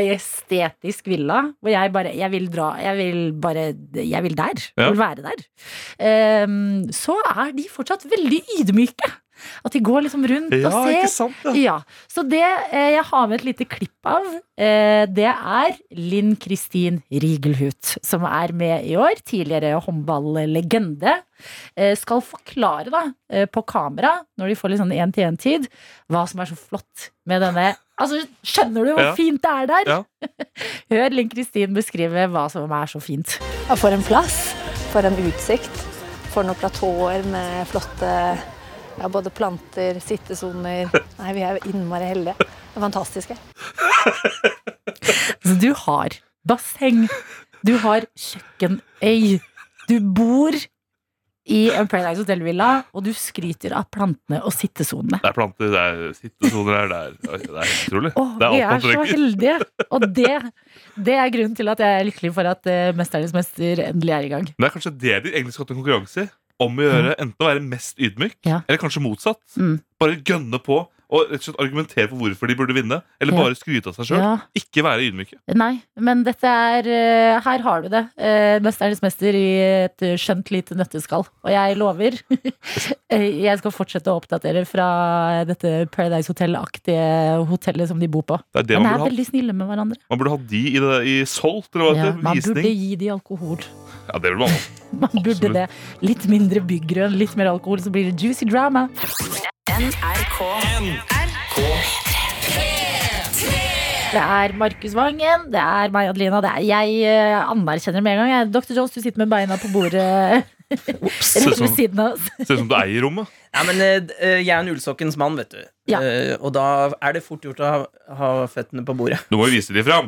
S4: majestetisk villa, hvor jeg bare Jeg vil dra. Jeg vil bare Jeg vil der.
S5: Ja.
S4: Jeg vil være der. Eh, så er de fortsatt veldig ydmyke. At de går liksom rundt og
S5: Ja,
S4: ser
S5: ikke sant, ja.
S4: ja, Så det eh, jeg har med et lite klipp av, eh, det er Linn Kristin Rigelhut, som er med i år. Tidligere håndballegende. Eh, skal forklare da, eh, på kamera, når de får litt sånn én-til-én-tid, hva som er så flott med denne. Altså, Skjønner du hvor
S5: Ja.
S4: fint det er der?
S5: Ja.
S4: Hør Linn Kristin beskrive hva som er så fint.
S7: Ja, For en plass, for en utsikt. For noen platåer med flotte ja, både planter, sittesoner. Nei, vi er innmari heldige. Det er fantastisk her.
S4: Så du har basseng, du har kjøkkenøy, du bor i en Paradise Hotel-villa, og du skryter av plantene og sittesonene.
S5: Det er planter, det er sittesoner her, det er, det er helt utrolig.
S4: Åh,
S5: det
S4: vi
S5: er
S4: er
S5: alt man
S4: så
S5: trenger.
S4: heldige! Og det, det er grunnen til at jeg er lykkelig for at eh, Mesternes mester endelig er i gang.
S5: Men det er kanskje det de egentlig skal til konkurranse i. Om å gjøre enten å være mest ydmyk,
S4: Mm. Ja.
S5: eller kanskje motsatt.
S4: Mm.
S5: Bare gønne på og rett og slett argumentere for hvorfor de burde vinne. Eller
S4: Ja.
S5: bare skryte av seg sjøl.
S4: Ja,
S5: Ikke være ydmyke.
S4: nei, men dette er eh, Her har du det. Eh, Mesternes mester i et skjønt lite nøtteskall. Og jeg lover Eh, Jeg skal fortsette å oppdatere fra dette Paradise Hotel-aktige hotellet som de bor på.
S5: Det er det
S4: Men
S5: man
S4: er
S5: burde ha.
S4: veldig snille med hverandre.
S5: Man burde ha de i, det, i solgt, eller hva det
S4: Ja,
S5: heter.
S4: man burde
S5: Visning.
S4: gi de alkohol.
S5: Ja, det burde man ha.
S4: Man burde
S5: Absolutt.
S4: det. Litt mindre byggrønn, litt mer alkohol, så blir det juicy drama. Det er Markus Vangen, det er meg, Adelina. Det er jeg eh, anerkjenner med en gang. Jeg, Dr. Jones, du sitter med beina på bordet
S5: Ser
S4: rett
S5: ut
S4: ved
S5: som-
S4: siden av oss.
S5: ser ut som du eier rommet.
S6: Ja, men eh, d- eh, jeg er en ullsokkens mann, vet du.
S4: Ja.
S6: Eh, og da er det fort gjort å ha, ha føttene på bordet.
S5: Du må jo vise de fram.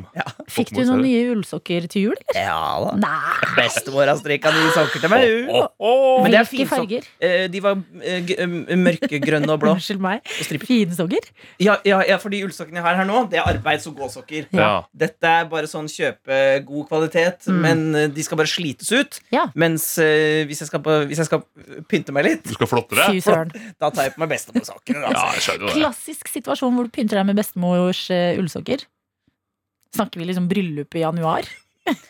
S4: Fikk du noen nye ullsokker til jul? eller?
S6: Ja da.
S4: Nei.
S6: Bestemor har strikka nye sokker til meg. hun.
S5: Åh, åh.
S6: Men det er
S4: Hvilke
S6: fin sokk.
S4: farger?
S6: Eh, de var eh, g- eh, mørke, grønne og blå.
S4: Unnskyld meg.
S6: Og striper.
S4: Fine sokker?
S6: Ja, ja, ja, for de ullsokkene jeg har her nå, det er arbeids- og gåsokker.
S5: Ja.
S6: Dette er bare sånn kjøpe god kvalitet, men eh, de skal bare slites ut.
S4: Mm. Ja.
S6: Mens eh, hvis, jeg skal på, hvis jeg skal pynte meg litt,
S5: Du skal flotte
S4: Fy
S5: deg.
S4: søren.
S6: da tar jeg på meg bestemorsokkene.
S5: Ja,
S6: Altså.
S5: jeg skjønner jo det.
S4: Klassisk situasjon hvor du pynter deg med bestemors eh, ullsokker. Snakker vi liksom bryllup i januar?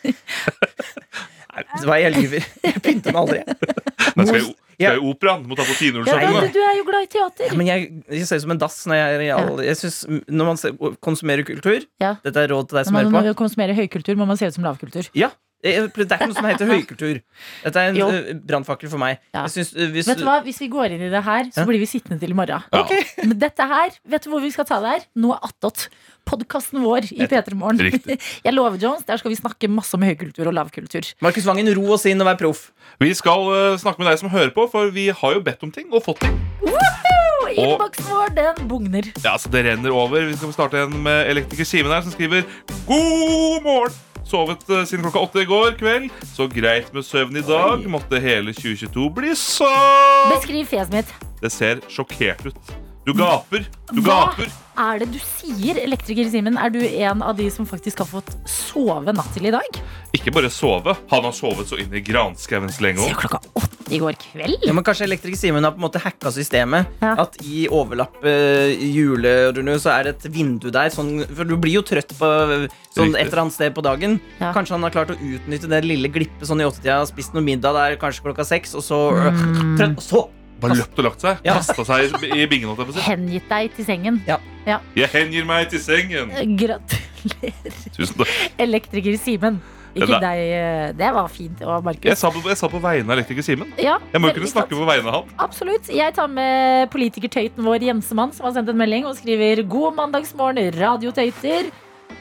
S6: Nei, Hva jeg lyver. Jeg pynter meg aldri.
S5: Men skal jeg,
S6: Ja.
S5: skal jeg i operaen? Må ta på
S4: Ja,
S5: tinullsokkene.
S4: du, du er jo glad i teater.
S6: Ja, men jeg, jeg ser ut som en dass når jeg er real. Jeg synes, når man ser, konsumerer kultur
S4: Ja.
S6: Dette er råd til deg som
S4: Når
S6: hører
S4: man
S6: på.
S4: konsumerer høykultur, må man se ut som lavkultur.
S6: Ja, jeg- Det er ikke noe som heter høykultur. Dette er en
S4: Jo.
S6: eh, brannfakkel for meg.
S4: Ja.
S6: Jeg synes, eh, hvis,
S4: Vet du hva, Hvis vi går inn i det her, så
S6: Ja.
S4: blir vi sittende til i morgen.
S5: Ja.
S4: Men dette her, Vet du hvor vi skal ta det her? Noe attåt. Podkasten vår i P3 Morgen.
S5: Riktig.
S4: Jeg lover, Jones, der skal vi snakke masse om høykultur og lavkultur.
S6: Markus Vangen, ro oss inn og vær proff.
S5: Vi skal eh, snakke med deg som hører på, for vi har jo bedt om ting og fått ting.
S4: Og Innboksen vår, den bugner.
S5: Ja, så det renner over. Vi skal starte igjen med elektriker Simen her, som skriver God morgen! Sovet eh, siden klokka åtte i går kveld. Så greit med søvn i dag. Måtte hele 2022 bli sånn!
S4: Beskriv fjeset mitt.
S5: Det ser sjokkert ut. Du gaper. Du
S4: Hva?
S5: gaper.
S4: Er det du sier, elektriker Simen? Er du en av de som faktisk har fått sove natt til i dag?
S5: Ikke bare sove. Han har sovet så inn i granskauen så lenge
S4: Se
S5: òg.
S4: klokka åtte I går kveld?
S6: Ja, men Kanskje Elektriker Simen har på en måte hacka systemet.
S4: Ja.
S6: At i overlappet julerunde så er det et vindu der. Sånn, for du blir jo trøtt på sånn
S5: Riktig.
S6: et eller annet sted på dagen.
S4: Ja.
S6: Kanskje han har klart å utnytte det lille glippet sånn i åttetida. Spist noe middag der kanskje klokka seks, og så øh,
S4: Mm.
S6: trøtt. Og så
S5: Bare løpt og lagt seg.
S6: Ja.
S5: Kasta seg i- i bingen. holdt jeg på å si.
S4: Hengitt deg til sengen.
S5: Jeg hengir meg til sengen.
S4: Gratulerer,
S5: Tusen takk.
S4: elektriker Simen. Ikke
S5: Nei.
S4: deg. eh, Det var fint. Og
S5: Jeg
S4: Markus.
S5: sa, på, jeg sa på vegne av elektriker Simen.
S4: Ja,
S5: Jeg må jo kunne
S4: veldig
S5: snakke
S4: sant.
S5: på vegne av han.
S4: Absolutt. Jeg tar med politikertøyten vår Jensemann, som har sendt en melding og skriver 'God mandagsmorgen, radiotøyter'.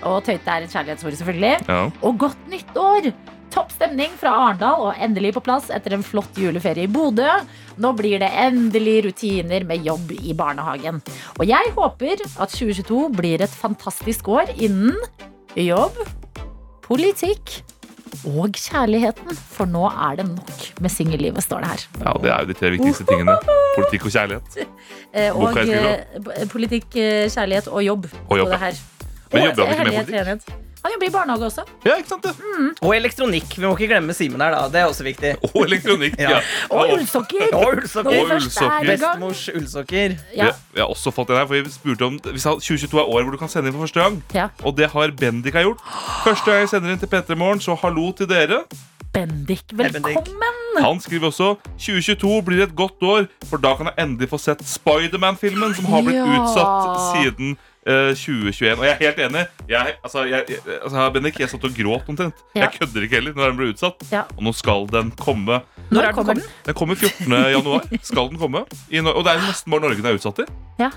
S4: Og tøyte er et kjærlighetsord, selvfølgelig.
S5: Ja.
S4: Og godt nytt år! Topp stemning fra Arendal og endelig på plass etter en flott juleferie i Bodø. Nå blir det endelig rutiner med jobb i barnehagen. Og jeg håper at 2022 blir et fantastisk år innen jobb, politikk og kjærligheten. For nå er det nok med singellivet, står det her.
S5: ja, Det er jo de tre viktigste tingene. Politikk og kjærlighet.
S4: Eh, Og
S5: Boka jeg skulle
S4: eh, b- politikk, eh, kjærlighet og jobb.
S5: Og jobb,
S4: på det her.
S5: Men
S4: Og
S5: jobber han ikke med
S4: herlighet,
S5: politikk?
S4: renhet. Han jobber i barnehage også.
S5: Ja, ikke sant det?
S6: Og elektronikk. Vi må ikke glemme Simen her, da. Det er også viktig.
S5: Og elektronikk.
S6: Ja.
S5: Ja.
S4: Og
S5: Og-
S4: ullsokker!
S6: Og
S4: Når vi
S5: Og
S6: ullsokker.
S4: først er i
S5: ullsokker.
S4: gang.
S6: Bestemors ullsokker.
S5: Vi,
S4: Ja,
S5: vi har også fått den her, for vi spurte om vi sa 2022 er året hvor du kan sende inn for første gang.
S4: ja.
S5: Og det har Bendik har gjort. Første gang jeg sender inn til P3 Morgen, så hallo til dere.
S4: Bendik,
S6: Hei, Bendik.
S4: velkommen!
S5: Han skriver også 2022 blir et godt år, for da kan jeg endelig få sett Spiderman-filmen som har blitt
S4: Ja.
S5: utsatt siden eh, 2021. Og jeg er helt enig. Jeg, altså, jeg, jeg- altså, Bendik, jeg satt og gråt omtrent.
S4: Ja.
S5: Jeg kødder ikke heller når den ble utsatt.
S4: Ja.
S5: Og nå skal den komme.
S4: Når,
S6: er den
S4: kommer den?
S5: Den kommer 14. januar. Skal den komme. I, Nor- og det er jo nesten bare Norge den er utsatt i.
S4: Ja.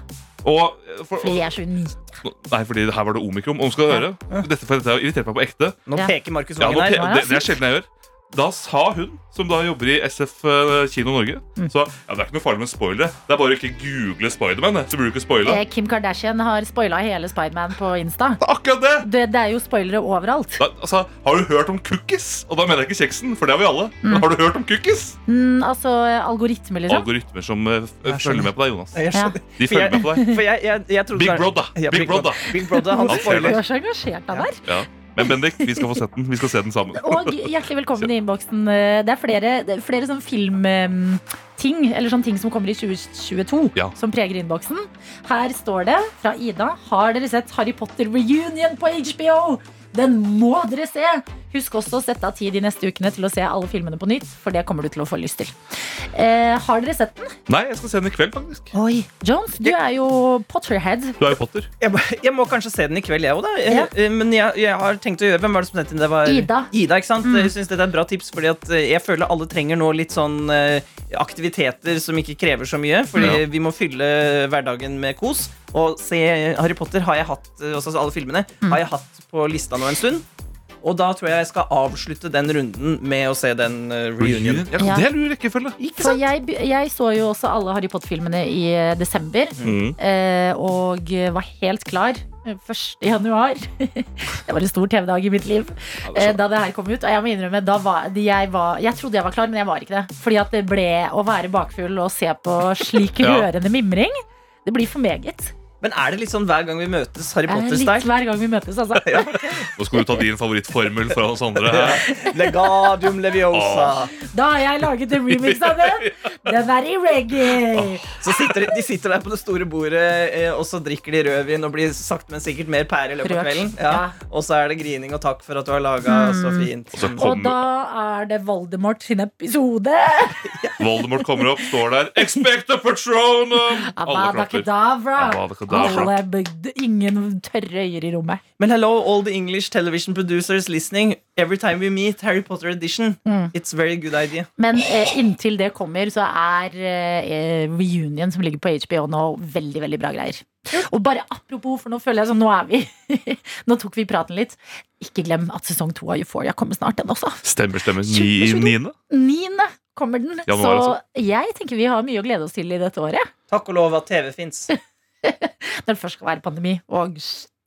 S5: Og, eh, for,
S4: Fordi jeg er så unik.
S5: Nei, fordi her var det omikron. Og nå skal du høre. Dette, for dette har irritert meg på ekte.
S6: Nå
S4: Ja.
S6: peker Markus
S5: Ja, nå, pe-
S6: Wangen her.
S4: ja,
S5: det, det er sjelden jeg gjør. Da sa hun, som da jobber i SF eh, Kino Norge
S6: Mm.
S5: Så ja, det er ikke noe farlig med spoilere. Det er bare å ikke google Spiderman. Så blir du ikke spoila.
S4: Eh, Kim Kardashian har spoila hele Spiderman på Insta.
S5: Det er akkurat det!
S4: Det, det er jo spoilere overalt.
S5: Da, altså, har du hørt om cookies? Og da mener jeg ikke kjeksen, for det har vi alle. Men har du hørt om cookies?
S4: Mm, altså eh, algoritme, liksom.
S5: Algoritmer som eh, f-
S6: Jeg skjønner.
S5: følger med på deg, Jonas.
S6: Jeg
S4: Ja.
S6: skjønner.
S5: De følger med på deg.
S6: For jeg, jeg, jeg trodde
S5: Big
S6: det var-
S5: Brother.
S6: Ja,
S5: Big Brother.
S6: Big Brother, han
S5: Han ser
S6: spoiler.
S4: Du er så engasjert av der.
S5: Ja. Men Bendik, vi skal få sett den. Vi skal se den sammen.
S4: Og hjertelig velkommen i innboksen. Eh, Det er flere, det er flere sånn filmting, eller sånne ting som kommer i 2022,
S5: Ja.
S4: som preger innboksen. Her står det fra Ida Har dere sett Harry Potter Reunion på HBO? Den må dere se! Husk også å sette av tid de neste ukene til å se alle filmene på nytt, for det kommer du til å få lyst til. Eh, har dere sett den?
S5: Nei, jeg skal se den i kveld, faktisk.
S4: Oi. Jones, du er jo Potterhead.
S5: Du er jo Potter.
S6: Jeg, må- jeg må kanskje se den i kveld, jeg òg, da.
S4: Ja.
S6: Eh, Men jeg, jeg har tenkt å gjøre Hvem var det som sendte den? Det var
S4: Ida. Mm.
S6: ikke sant? Jeg syns dette er et bra tips, fordi at eh, jeg føler alle trenger nå litt sånn eh, aktiviteter som ikke krever så mye. Fordi
S5: Ja.
S6: vi må fylle hverdagen med kos. Og se Harry Potter har jeg hatt eh, også alle filmene
S4: Mm.
S6: Har jeg hatt på lista nå en stund. Og da tror jeg jeg skal avslutte den runden med å se den eh, reunion.
S5: Ja,
S4: Ja.
S5: det er lur rekkefølge.
S4: For jeg, be- jeg så jo også alle Harry Potter-filmene i eh, desember.
S5: Mm.
S4: eh, og var helt klar 1. januar. det var en stor TV-dag i mitt liv eh, da det her kom ut. Og jeg må innrømme, da var, jeg, var, jeg trodde jeg var klar, men jeg var ikke det. Fordi at det ble å være bakfull og se på slik
S5: Ja.
S4: rørende mimring. Det blir for meget.
S6: Men er det litt sånn hver gang vi møtes Harry
S4: Eh, Litt
S6: Potter-style?
S4: hver gang vi møtes, altså.
S5: Nå skal du ta din favorittformel fra oss andre. her
S6: Legadium leviosa.
S4: Da har jeg laget en remix av den. Den er i reggae.
S6: Så sitter de, de sitter der på det store bordet, eh, og så drikker de rødvin og blir sakte, men sikkert mer pære i løpet av
S4: Rørt,
S6: kvelden. Ja. Og så er det grining og takk for at du har laga så fint.
S5: Og så kom-
S4: Og da er det Voldemort sin episode.
S5: Voldemort kommer opp, står der Expect a patronum! Alle klapper.
S4: Abadakadabra.
S5: Abadakadabra.
S4: Alle, bygd- ingen tørre øyer i rommet.
S6: Men hello, all the English television producers listening. Every time we meet Harry Potter edition, it's very good idea.
S4: Men eh, inntil det kommer, så er eh, reunion som ligger på HBO nå, veldig veldig bra greier. Og bare apropos, for nå føler jeg sånn, nå er vi Nå tok vi praten litt. Ikke glem at sesong to av Euphoria kommer snart, den også.
S5: Stemmer, stemmer. Ni,
S4: Supersjukt.
S5: niende?
S4: Niende kommer den.
S5: Ja, nå
S4: så
S5: er det altså-
S4: jeg tenker vi har mye å glede oss til i dette året.
S6: Takk og lov at TV fins.
S4: Når det først skal være pandemi. Og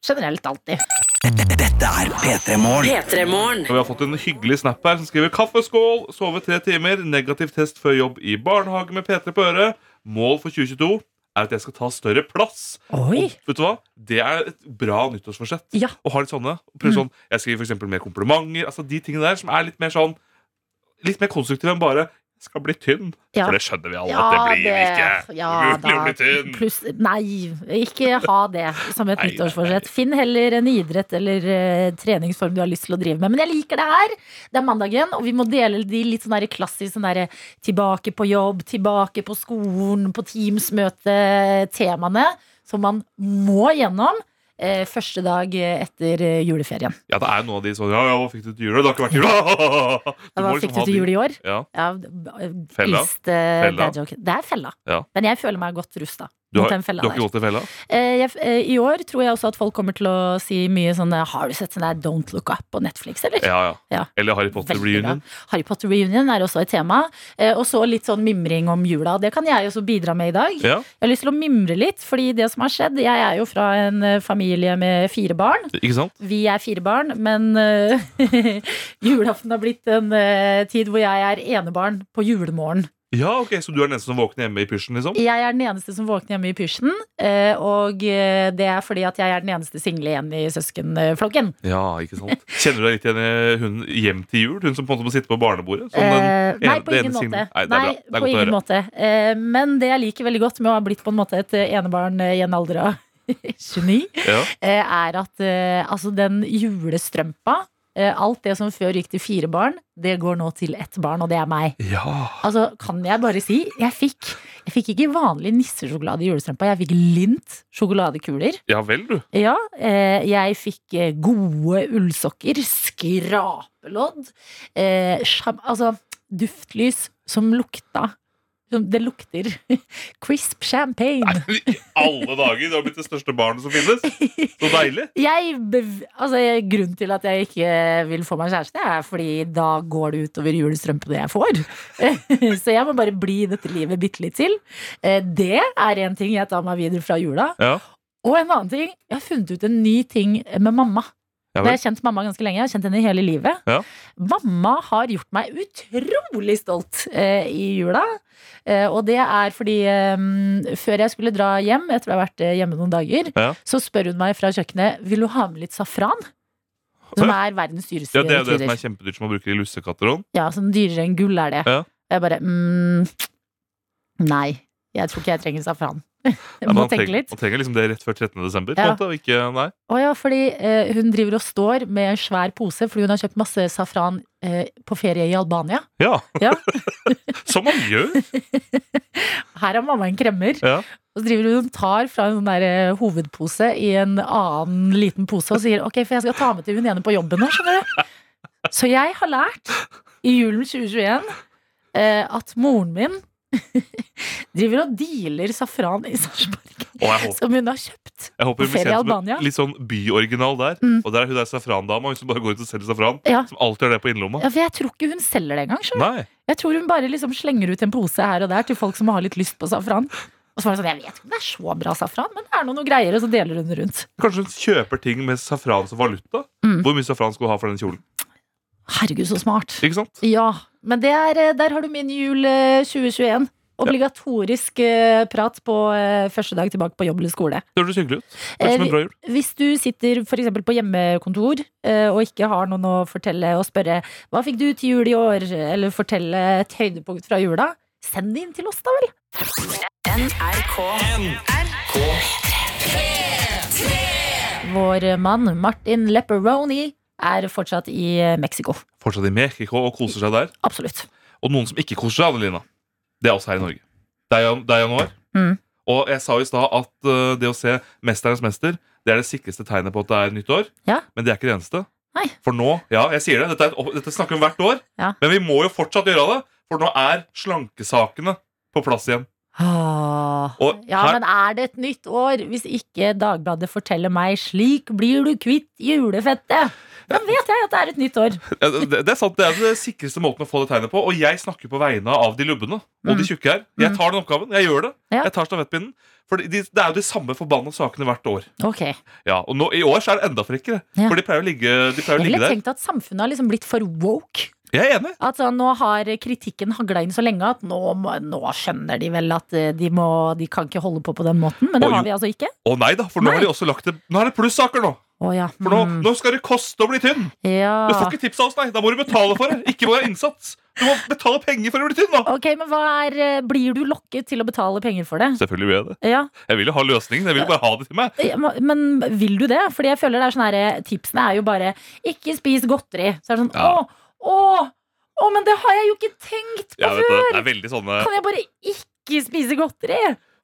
S4: generelt alltid.
S2: Dette er P3 Morgen.
S3: P3-morgen.
S5: Og vi har fått en hyggelig snap her som skriver Kaffeskål, sove tre timer, negativ test før jobb i barnehage med P3 på øret. Mål for 2022 er at jeg skal ta større plass.
S4: Oi!
S5: Vet du hva? Det er et bra nyttårsforsett.
S4: Ja.
S5: Å ha litt sånne.
S4: Mm.
S5: Prøv sånn, Jeg skriver for eksempel mer komplimenter. Altså De tingene der som er litt mer sånn Litt mer konstruktive enn bare skal bli tynn.
S4: Ja.
S5: For det skjønner vi alle at det blir vi ikke.
S4: Ja,
S5: Umulig
S4: da.
S5: å bli tynn.
S4: Pluss Nei, ikke ha det som et
S5: Nei, nei,
S4: nyttårsforsett. Finn heller en idrett eller eh, treningsform du har lyst til å drive med. Men jeg liker det her. Det er mandagen, og vi må dele de litt sånn der klassisk sånn der, tilbake på jobb, tilbake på skolen, på Teams-møte-temaene som man må gjennom. eh, Første dag eh, etter eh, juleferien.
S5: Ja, det er jo noen av de sånn Ja, ja, hva fikk du til jul? Det har ikke vært jul! da!» Du
S4: Hva
S5: må liksom
S4: fikk
S5: ha
S4: du til
S5: de-
S4: jul i år?
S5: Ja,
S4: Ja, b-
S5: Fella.
S4: East, eh,
S5: Fella.
S4: dad joke. Det er fella.
S5: Ja.
S4: Men jeg føler meg godt rusta
S5: du
S4: mot
S5: har,
S4: den
S5: du
S4: fella
S5: har ikke
S4: der.
S5: gått i fella?
S4: Eh, jeg, eh, I år tror jeg også at folk kommer til å si mye sånn eh, Har du sett sånn der Don't Look Up på Netflix, eller?
S5: Ja, ja.
S4: Ja.
S5: Eller Harry Potter
S4: Veldig
S5: reunion?
S4: bra. Harry Potter reunion er også et tema. Eh, og så litt sånn mimring om jula. Det kan jeg også bidra med i dag.
S5: Ja.
S4: Jeg har lyst til å mimre litt, fordi det som har skjedd Jeg er jo fra en eh, familie med fire barn.
S5: Ikke sant?
S4: Vi er fire barn, men eh, julaften har blitt en eh, tid hvor jeg er enebarn på julemorgen.
S5: Ja, ok, Så du er den eneste som våkner hjemme i pysjen, liksom?
S4: Jeg er den eneste som våkner hjemme i pysjen, eh, og eh, det er fordi at jeg er den eneste single igjen i søskenflokken.
S5: Ja, ikke sant? Kjenner du deg litt igjen i hun hjem til jul? Hun som på en måte må sitte på barnebordet? Som den,
S4: Eh, nei,
S5: ene-
S4: på
S5: det
S4: ingen
S5: ene
S4: måte.
S5: single- Nei, det er
S4: Nei,
S5: bra. Det er
S4: på
S5: godt å
S4: ingen
S5: høre.
S4: måte. Eh, men det jeg liker veldig godt med å ha blitt på en måte et eh, enebarn eh, i en alder av 29,
S5: ja.
S4: eh, er at eh, altså den julestrømpa eh, Alt det som før gikk til fire barn, det går nå til ett barn, og det er meg.
S5: ja.
S4: Altså, kan jeg bare si, jeg fikk, jeg fikk ikke vanlig nissesjokolade i julestrømpa, jeg fikk lint sjokoladekuler.
S5: ja vel, du.
S4: Ja, eh, jeg fikk eh, gode ullsokker, skrapelodd, eh, sjam, altså duftlys som lukta som Det lukter crisp champagne.
S5: Nei, i alle dager! Du har blitt det største barnet som finnes. Så deilig.
S4: Jeg bev altså, jeg- grunnen til at jeg ikke vil få meg kjæreste, er fordi da går det utover julestrømpene jeg får. Så jeg må bare bli i dette livet bitte litt til. Eh, Det er en ting jeg tar meg videre fra jula.
S5: Ja.
S4: Og en annen ting, jeg har funnet ut en ny ting med mamma. Jeg
S5: Ja
S4: har
S5: vel.
S4: jeg kjent mamma ganske lenge. Jeg har kjent henne hele livet.
S5: Ja.
S4: Mamma har gjort meg utrolig stolt eh, i jula. Eh, og det er fordi eh, før jeg skulle dra hjem, etter å ha vært eh, hjemme noen dager,
S5: Ja.
S4: så spør hun meg fra kjøkkenet Vil du ha med litt safran. Som er verdens dyreste
S5: Ja, Det er jo det som
S4: krydder.
S5: er kjempedyrt som man bruker i lussekatter.
S4: Ja, sånn dyrere enn gull er det.
S5: Ja.
S4: Og jeg bare mm, Nei, jeg tror ikke jeg trenger safran. Jeg må
S5: Man,
S4: tenke
S5: trenger-
S4: litt.
S5: man trenger liksom det rett før 13. desember. På en
S4: Ja.
S5: måte, og ikke, nei.
S4: Å ja, fordi eh, hun driver og står med en svær pose fordi hun har kjøpt masse safran eh, på ferie i Albania.
S5: Ja.
S4: Ja.
S5: som man gjør.
S4: Her har mamma en kremmer.
S5: Ja.
S4: Og så driver hun og tar fra en sånn der eh, hovedpose i en annen liten pose og sier ok, for jeg skal ta med til hun ene på jobben nå, skjønner du. Så jeg har lært i julen 2021 eh, at moren min driver og dealer safran i Sarpsborg
S5: Og jeg håper
S4: som hun har kjøpt.
S5: Jeg håper
S4: På
S5: hun blir
S4: ferie i
S5: kjent som
S4: Albania.
S5: en litt sånn byoriginal der.
S4: Mm.
S5: Og der er hun der safrandama, hun som bare går ut og selger safran.
S4: Ja.
S5: Som alltid har det på innerlomma.
S4: Ja, for jeg tror ikke hun selger det engang. skjønner du.
S5: Nei.
S4: Jeg tror hun bare liksom slenger ut en pose her og der til folk som har litt lyst på safran. Og så var det sånn, jeg vet ikke om det er så bra safran, men det er nå noe greier, og så deler hun det rundt.
S5: Kanskje hun kjøper ting med safran som valuta?
S4: Mm.
S5: Hvor mye safran skal hun ha for den kjolen?
S4: Herregud, så smart.
S5: Ikke sant?
S4: Ja, men det er, eh, der har du min jul eh, 2021. Obligatorisk eh, prat på eh, første dag tilbake på jobb eller skole.
S5: Det høres hyggelig ut. Det
S4: Eh,
S5: er som
S4: vi-
S5: en bra jul.
S4: Hvis du sitter for eksempel på hjemmekontor eh, og ikke har noen å fortelle og spørre hva fikk du til jul i år, eller fortelle et høydepunkt fra jula, send det inn til oss da vel. Vår mann Martin Lepperoni er fortsatt i eh, Mexico.
S5: Fortsatt i Mexico og koser seg der.
S4: Absolutt.
S5: Og noen som ikke koser seg, Adelina, det er oss her i Norge. Det er, jan- det er januar.
S4: Mm.
S5: Og jeg sa jo i stad at eh, det å se 'Mesterens mester' det er det sikreste tegnet på at det er nytt år.
S4: Ja.
S5: Men det er ikke det eneste.
S4: Nei.
S5: For nå, ja, jeg sier det, dette, er, et opp- dette snakker vi om hvert år,
S4: Ja.
S5: men vi må jo fortsatt gjøre det. For nå er slankesakene på plass igjen.
S4: Ah.
S5: Og
S4: Ja,
S5: her,
S4: men er det et nytt år hvis ikke Dagbladet forteller meg 'slik blir du kvitt julefettet'? Da vet jeg at det er et nytt år.
S5: Ja, det, det er sant, det er den sikreste måten å få det tegnet på. Og jeg snakker på vegne av de lubne og de tjukke her. Jeg tar den oppgaven. Jeg gjør det.
S4: Mm. Ja.
S5: Jeg tar stafettpinnen. For de, det er jo de samme forbanna sakene hvert år.
S4: Ok.
S5: Ja, Og nå, i år så er det enda frekkere.
S4: Ja.
S5: For de pleier å ligge, de pleier å
S4: Jeg ville
S5: ligge der.
S4: tenkt at samfunnet har liksom blitt for woke.
S5: Jeg er enig.
S4: At sånn, nå har kritikken hagla inn så lenge at nå, må- nå skjønner de vel at eh, de, må, de kan ikke holde på på den måten. Men det
S5: Og
S4: har
S5: jo-
S4: vi altså ikke.
S5: Å nei da, for nå
S4: Nei.
S5: har de også lagt det Nå er det plussaker nå!
S4: Å ja.
S5: For nå,
S4: mm, Ah.
S5: nå skal det koste å bli tynn! Du
S4: ja.
S5: får ikke tips av oss, nei! Da må du betale for det! Ikke vår innsats! Du må betale penger for å bli tynn, da!
S4: Ok, men hva er eh, Blir du lokket til å betale penger for det?
S5: Selvfølgelig vil jeg det.
S4: Ja, eh,
S5: Jeg vil jo ha løsningen. Jeg vil bare ha det til meg.
S4: ja, ma- Men vil du det? Fordi jeg føler det er sånn her eh, Tipsene er jo bare 'ikke spis godteri'. Så er det sånn
S5: Ja.
S4: Å, å, å, men det har jeg jo ikke tenkt på
S5: Jeg vet
S4: før!
S5: det. Det er veldig sånne
S4: Kan jeg bare ikke spise godteri?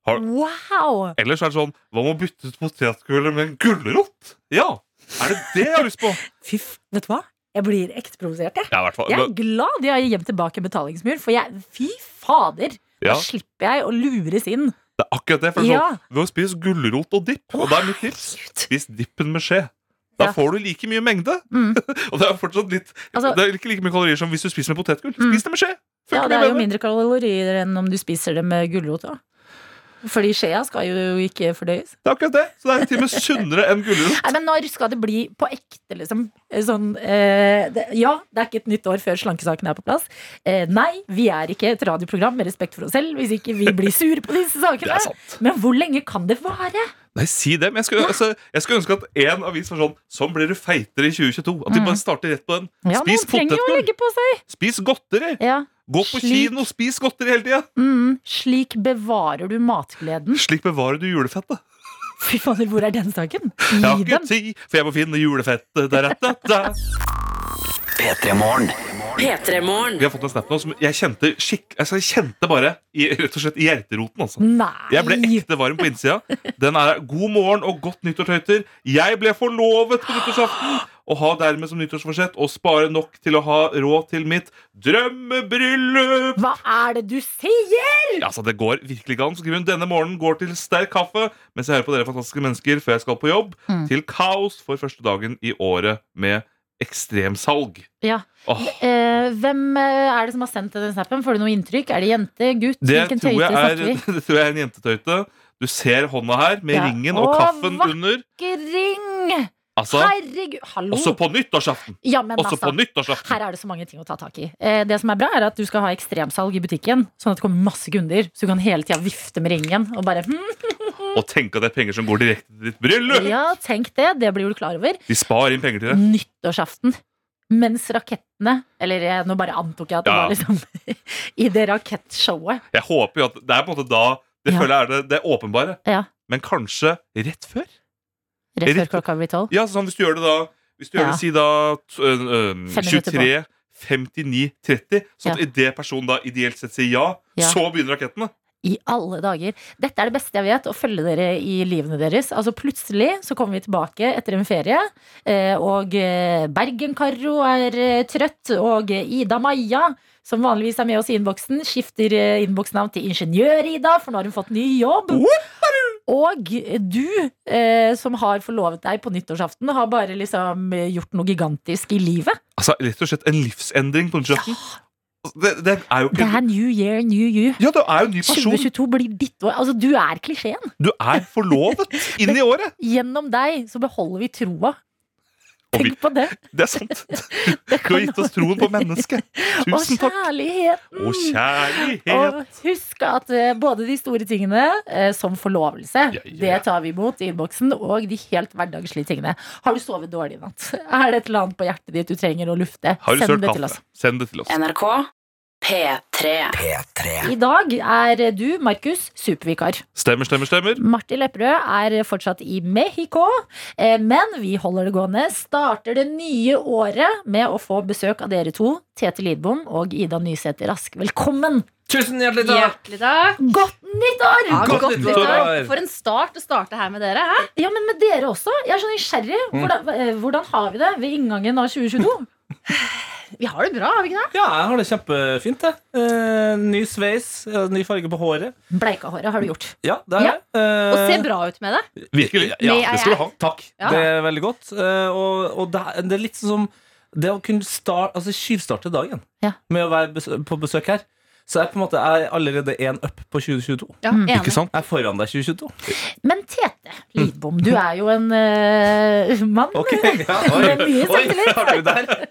S5: Har-
S4: Wow!
S5: Ellers er det sånn Hva med å bytte ut potetgullet med en gulrot? Ja! Er det det jeg har lyst på?
S4: Fy, f- vet du hva? Jeg blir ekte provosert, jeg.
S5: Ja, i hvert fall.
S4: Jeg er
S5: Men,
S4: glad de har gjemt tilbake en betalingsmur, for jeg Fy fader!
S5: ja,
S4: Da slipper jeg å lures inn.
S5: det er akkurat det. For det er
S4: Ja.
S5: sånn, Ved å spise gulrot og dipp, og da er mitt tips Spis dippen med skje. Da
S4: Ja.
S5: får du like mye mengde.
S4: Mm.
S5: Og det er fortsatt litt
S4: Altså-
S5: Det er ikke like mye kalorier som hvis du spiser med potetgull.
S4: Mm.
S5: Spis det med skje!
S4: Ja,
S5: Funker
S4: det er
S5: mye
S4: jo
S5: bedre.
S4: mindre kalorier enn om du spiser det med gulrot. da. Fordi skjea skal jo ikke fordøyes.
S5: Det er akkurat det. Så det er til og med sunnere enn gulrot.
S4: Nei, men Når skal det bli på ekte, liksom? Eh, Sånn, eh, det, ja, det er ikke et nytt år før slankesaken er på plass. Eh, nei, vi er ikke et radioprogram med respekt for oss selv hvis ikke vi blir sure på disse
S5: Det
S4: sakene.
S5: er sant.
S4: Men hvor lenge kan det vare?
S5: Nei, si det. Men jeg skulle, altså, jeg skulle ønske at én avis var sånn Sånn blir du feitere i 2022. At de
S4: Mm.
S5: bare starter rett på den.
S4: Ja,
S5: Spis
S4: noen trenger jo å
S5: potetgull.
S4: legge på seg.
S5: Spis godteri!
S4: Ja.
S5: Gå
S4: Slik-
S5: på kino, spis godteri hele tida!
S4: Mm, slik bevarer du matgleden.
S5: Slik bevarer du julefettet.
S4: Fy fader, hvor er den saken?
S5: Jeg har
S4: Gi
S5: ikke
S4: den.
S5: tid, for jeg må finne julefettet. Der, der, der.
S2: P3 Morgen.
S3: P3-morgen.
S5: Vi har fått en snap nå som jeg kjente skikk... Altså, jeg kjente bare i, rett og slett i hjerteroten, altså.
S4: Nei!
S5: Jeg ble ekte varm på innsida. Den er 'God morgen og godt nyttår, tøyter'. Jeg ble forlovet på nyttårsaften og har dermed som nyttårsforsett å spare nok til å ha råd til mitt drømmebryllup.
S4: Hva er det du sier?!
S5: Ja, altså, det går virkelig ikke an. Så skriver hun denne morgenen går til sterk kaffe mens jeg hører på dere fantastiske mennesker før jeg skal på jobb.
S4: Mm.
S5: Til kaos for første dagen i året med ekstremsalg.
S4: Ja.
S5: Åh,
S4: Eh, hvem eh, er det som har sendt deg den snappen? Får du noe inntrykk? Er det jente? Gutt?
S5: det,
S4: Hvilken
S5: tror
S4: tøyte
S5: jeg er,
S4: snakker vi?
S5: det tror jeg er en jentetøyte. Du ser hånda her med
S4: Ja.
S5: ringen og
S4: Åh,
S5: kaffen
S4: vakker.
S5: under.
S4: Ikke ring!
S5: Altså,
S4: Herregud! Hallo!
S5: også på nyttårsaften!
S4: ja, men
S5: Også på
S4: altså,
S5: nyttårsaften.
S4: her er det så mange ting å ta tak i. Eh, det som er bra, er at du skal ha ekstremsalg i butikken, sånn at det kommer masse kunder. Så du kan hele tida vifte med ringen og bare hm,
S5: Og tenk at det er penger som går direkte til ditt bryllup!
S4: Ja, Mm. tenk det. Det blir du klar over.
S5: De sparer inn penger til det.
S4: nyttårsaften mens rakettene Eller eh, nå bare antok jeg at det
S5: Ja.
S4: var liksom i det rakettshowet.
S5: Jeg håper jo at Det er på en måte da det
S4: Ja.
S5: føler jeg er det, det åpenbare.
S4: Ja.
S5: Men kanskje rett før?
S4: Rett før
S5: Riktig.
S4: klokka blir tolv.
S5: Ja, sånn hvis du gjør det da Hvis du gjør
S4: Ja.
S5: det, si da t- øh, øh,
S4: Fem minutter
S5: 23 59 30 Sånn at idet personen da ideelt sett sier ja,
S4: Ja.
S5: så begynner rakettene.
S4: I alle dager. Dette er det beste jeg vet, å følge dere i livene deres. Altså Plutselig så kommer vi tilbake etter en ferie, eh, og eh, Bergen-Karo er eh, trøtt, og eh, Ida Maja, som vanligvis er med oss i innboksen, skifter eh, innboksnavn til Ingeniør-Ida, for nå har hun fått ny jobb. Og du, eh, som har forlovet deg på nyttårsaften, har bare liksom eh, gjort noe gigantisk i livet.
S5: Altså Rett og slett en livsendring på nyttårsaften. Altså, Det, det er jo
S4: Det
S5: ikke
S4: er new year, new you.
S5: Ja, du er jo en ny person.
S4: 2022 blir ditt år. Altså, du er klisjeen.
S5: Du er forlovet inn i året.
S4: Gjennom deg så beholder vi troa.
S5: Og vi-
S4: Tenk på det.
S5: Det er sant. Du har gitt oss troen på mennesket.
S4: Og
S5: Tusen takk.
S4: kjærligheten.
S5: Å, kjærlighet.
S4: Og husk at eh, både de store tingene, eh, som forlovelse,
S5: Ja, ja.
S4: det tar vi imot i innboksen, og de helt hverdagslige tingene. Har du sovet dårlig i natt? Er det et eller annet på hjertet ditt du trenger å lufte?
S5: Har du
S4: Send
S5: sølt
S4: det til oss.
S5: kaffe? Send det til oss.
S3: NRK P3.
S2: P3.
S4: I dag er du, Markus, supervikar.
S5: Stemmer, stemmer, stemmer.
S4: Martin Lepperød er fortsatt i Mexico, eh, men vi holder det gående. Starter det nye året med å få besøk av dere to, Tete Lidbom og Ida Nysæter Rask. Velkommen!
S8: Tusen hjertelig takk!
S9: Hjertelig takk.
S4: Godt nyttår!
S8: Ja, godt
S9: Godt
S8: nyttår.
S9: nyttår. For en start å starte her med dere. Hæ?
S4: Ja, men med dere også. Jeg er så nysgjerrig.
S9: Mm.
S4: Hvordan, eh, hvordan har vi det ved inngangen av 2022?
S9: Vi har det bra, har vi ikke det?
S8: Ja, jeg har det kjempefint. Jeg. Eh, ny sveis, eh, ny farge på håret.
S4: Bleika håret har du gjort.
S8: Ja, det er
S4: Ja.
S8: jeg. Eh,
S9: Og ser bra ut med det.
S5: Virkelig.
S8: Ja,
S9: Det er
S5: det skal du ha.
S8: Takk.
S9: Ja.
S8: Det er veldig godt. Eh, og og det, er- det er litt sånn som det å kunne start, altså tjuvstarte dagen
S4: Ja.
S8: med å være bes på besøk her. Så jeg er på en måte jeg er allerede én up på 2022.
S9: Ja, enig.
S5: Ikke sant?
S8: Jeg er foran deg 2022.
S4: Men Tete, Lidbom, du er jo en eh, mann.
S6: ja,
S4: Med mye selvtillit.
S6: har du der?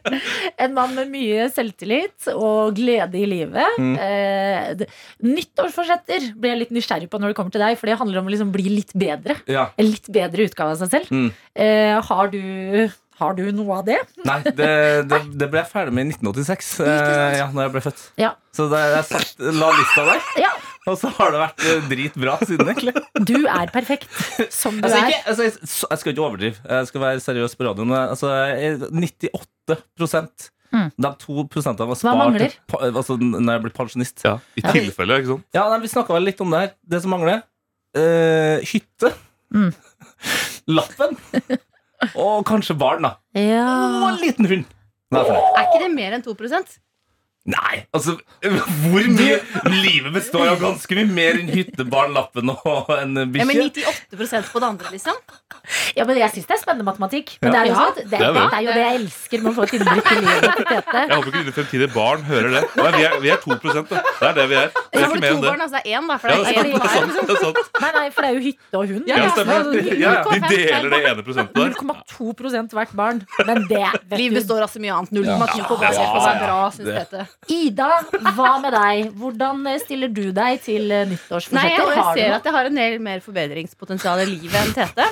S4: En mann med mye selvtillit og glede i livet. Eh, det- nyttårsforsetter blir jeg litt nysgjerrig på når det kommer til deg, for det handler om å liksom bli litt bedre.
S8: Ja.
S4: En litt bedre utgave av seg selv.
S8: Mm.
S4: Eh, har, du, har du noe av det?
S8: Nei, det, det, det ble jeg ferdig med i 1986, eh, ja, når jeg ble født.
S4: Ja.
S8: Så det, jeg satt, la lista der,
S4: Ja,
S8: og så har det vært eh, dritbra siden, egentlig.
S4: du er perfekt som du
S8: Altså, ikke,
S4: er.
S8: altså, jeg, så- jeg skal ikke overdrive. Jeg skal være seriøs på radioen. men, Altså, jeg- 98
S4: Mm.
S8: De to prosentene var spart
S4: mangler?
S8: pa- altså, når jeg blir pensjonist. Ja.
S5: Ja, I tilfelle, ikke sant?
S8: nei, vi snakka vel litt om det her. Det som mangler eh, hytte.
S4: Mm.
S8: Lappen. Og kanskje barn, da. Og
S4: Ja.
S8: en liten hund. Nei, for det.
S9: Er ikke det mer enn 2
S8: Nei, altså Hvor mye Livet består av ganske mye mer enn hytte, barn, lappen og en
S9: Ja, men
S8: bikkje.
S9: 98 på det andre, liksom.
S4: ja, men Jeg syns det er spennende matematikk. Men det,
S8: Ja.
S4: er jo sånn, at- det,
S5: er det.
S4: det er jo det jeg elsker med å få et innblikk i livet til Tete.
S5: Jeg håper ikke dine fremtidige barn hører det. Nei, vi, er, vi er 2 da. Det er det vi er. Det
S9: Så
S5: er
S9: har
S5: ikke
S9: du
S5: mer
S9: to
S5: enn det.
S9: barn, altså det er én, da. For
S5: Ja,
S9: det
S5: det er sant. Det
S9: er én
S5: er
S9: hver.
S5: sant. Det er sant.
S4: Nei, nei, for det er jo hytte og hund. Altså,
S9: Ja,
S5: Ja,
S9: ja,
S5: stemmer. Ja, ja. De deler det ene prosentet der.
S4: 0,2 hvert barn. Men det vet
S9: Liv
S4: du.
S9: består av så mye annet. 0,2 på hva
S8: Ja,
S9: som er
S8: ja,
S9: bra,
S8: ja.
S9: syns dette.
S4: Ida, hva med deg? Hvordan stiller du deg til eh, nyttårsforsetter?
S9: Nei, og jeg
S4: Har du
S9: ser
S4: noe?
S9: at jeg har en del mer forbedringspotensial i livet enn Tete.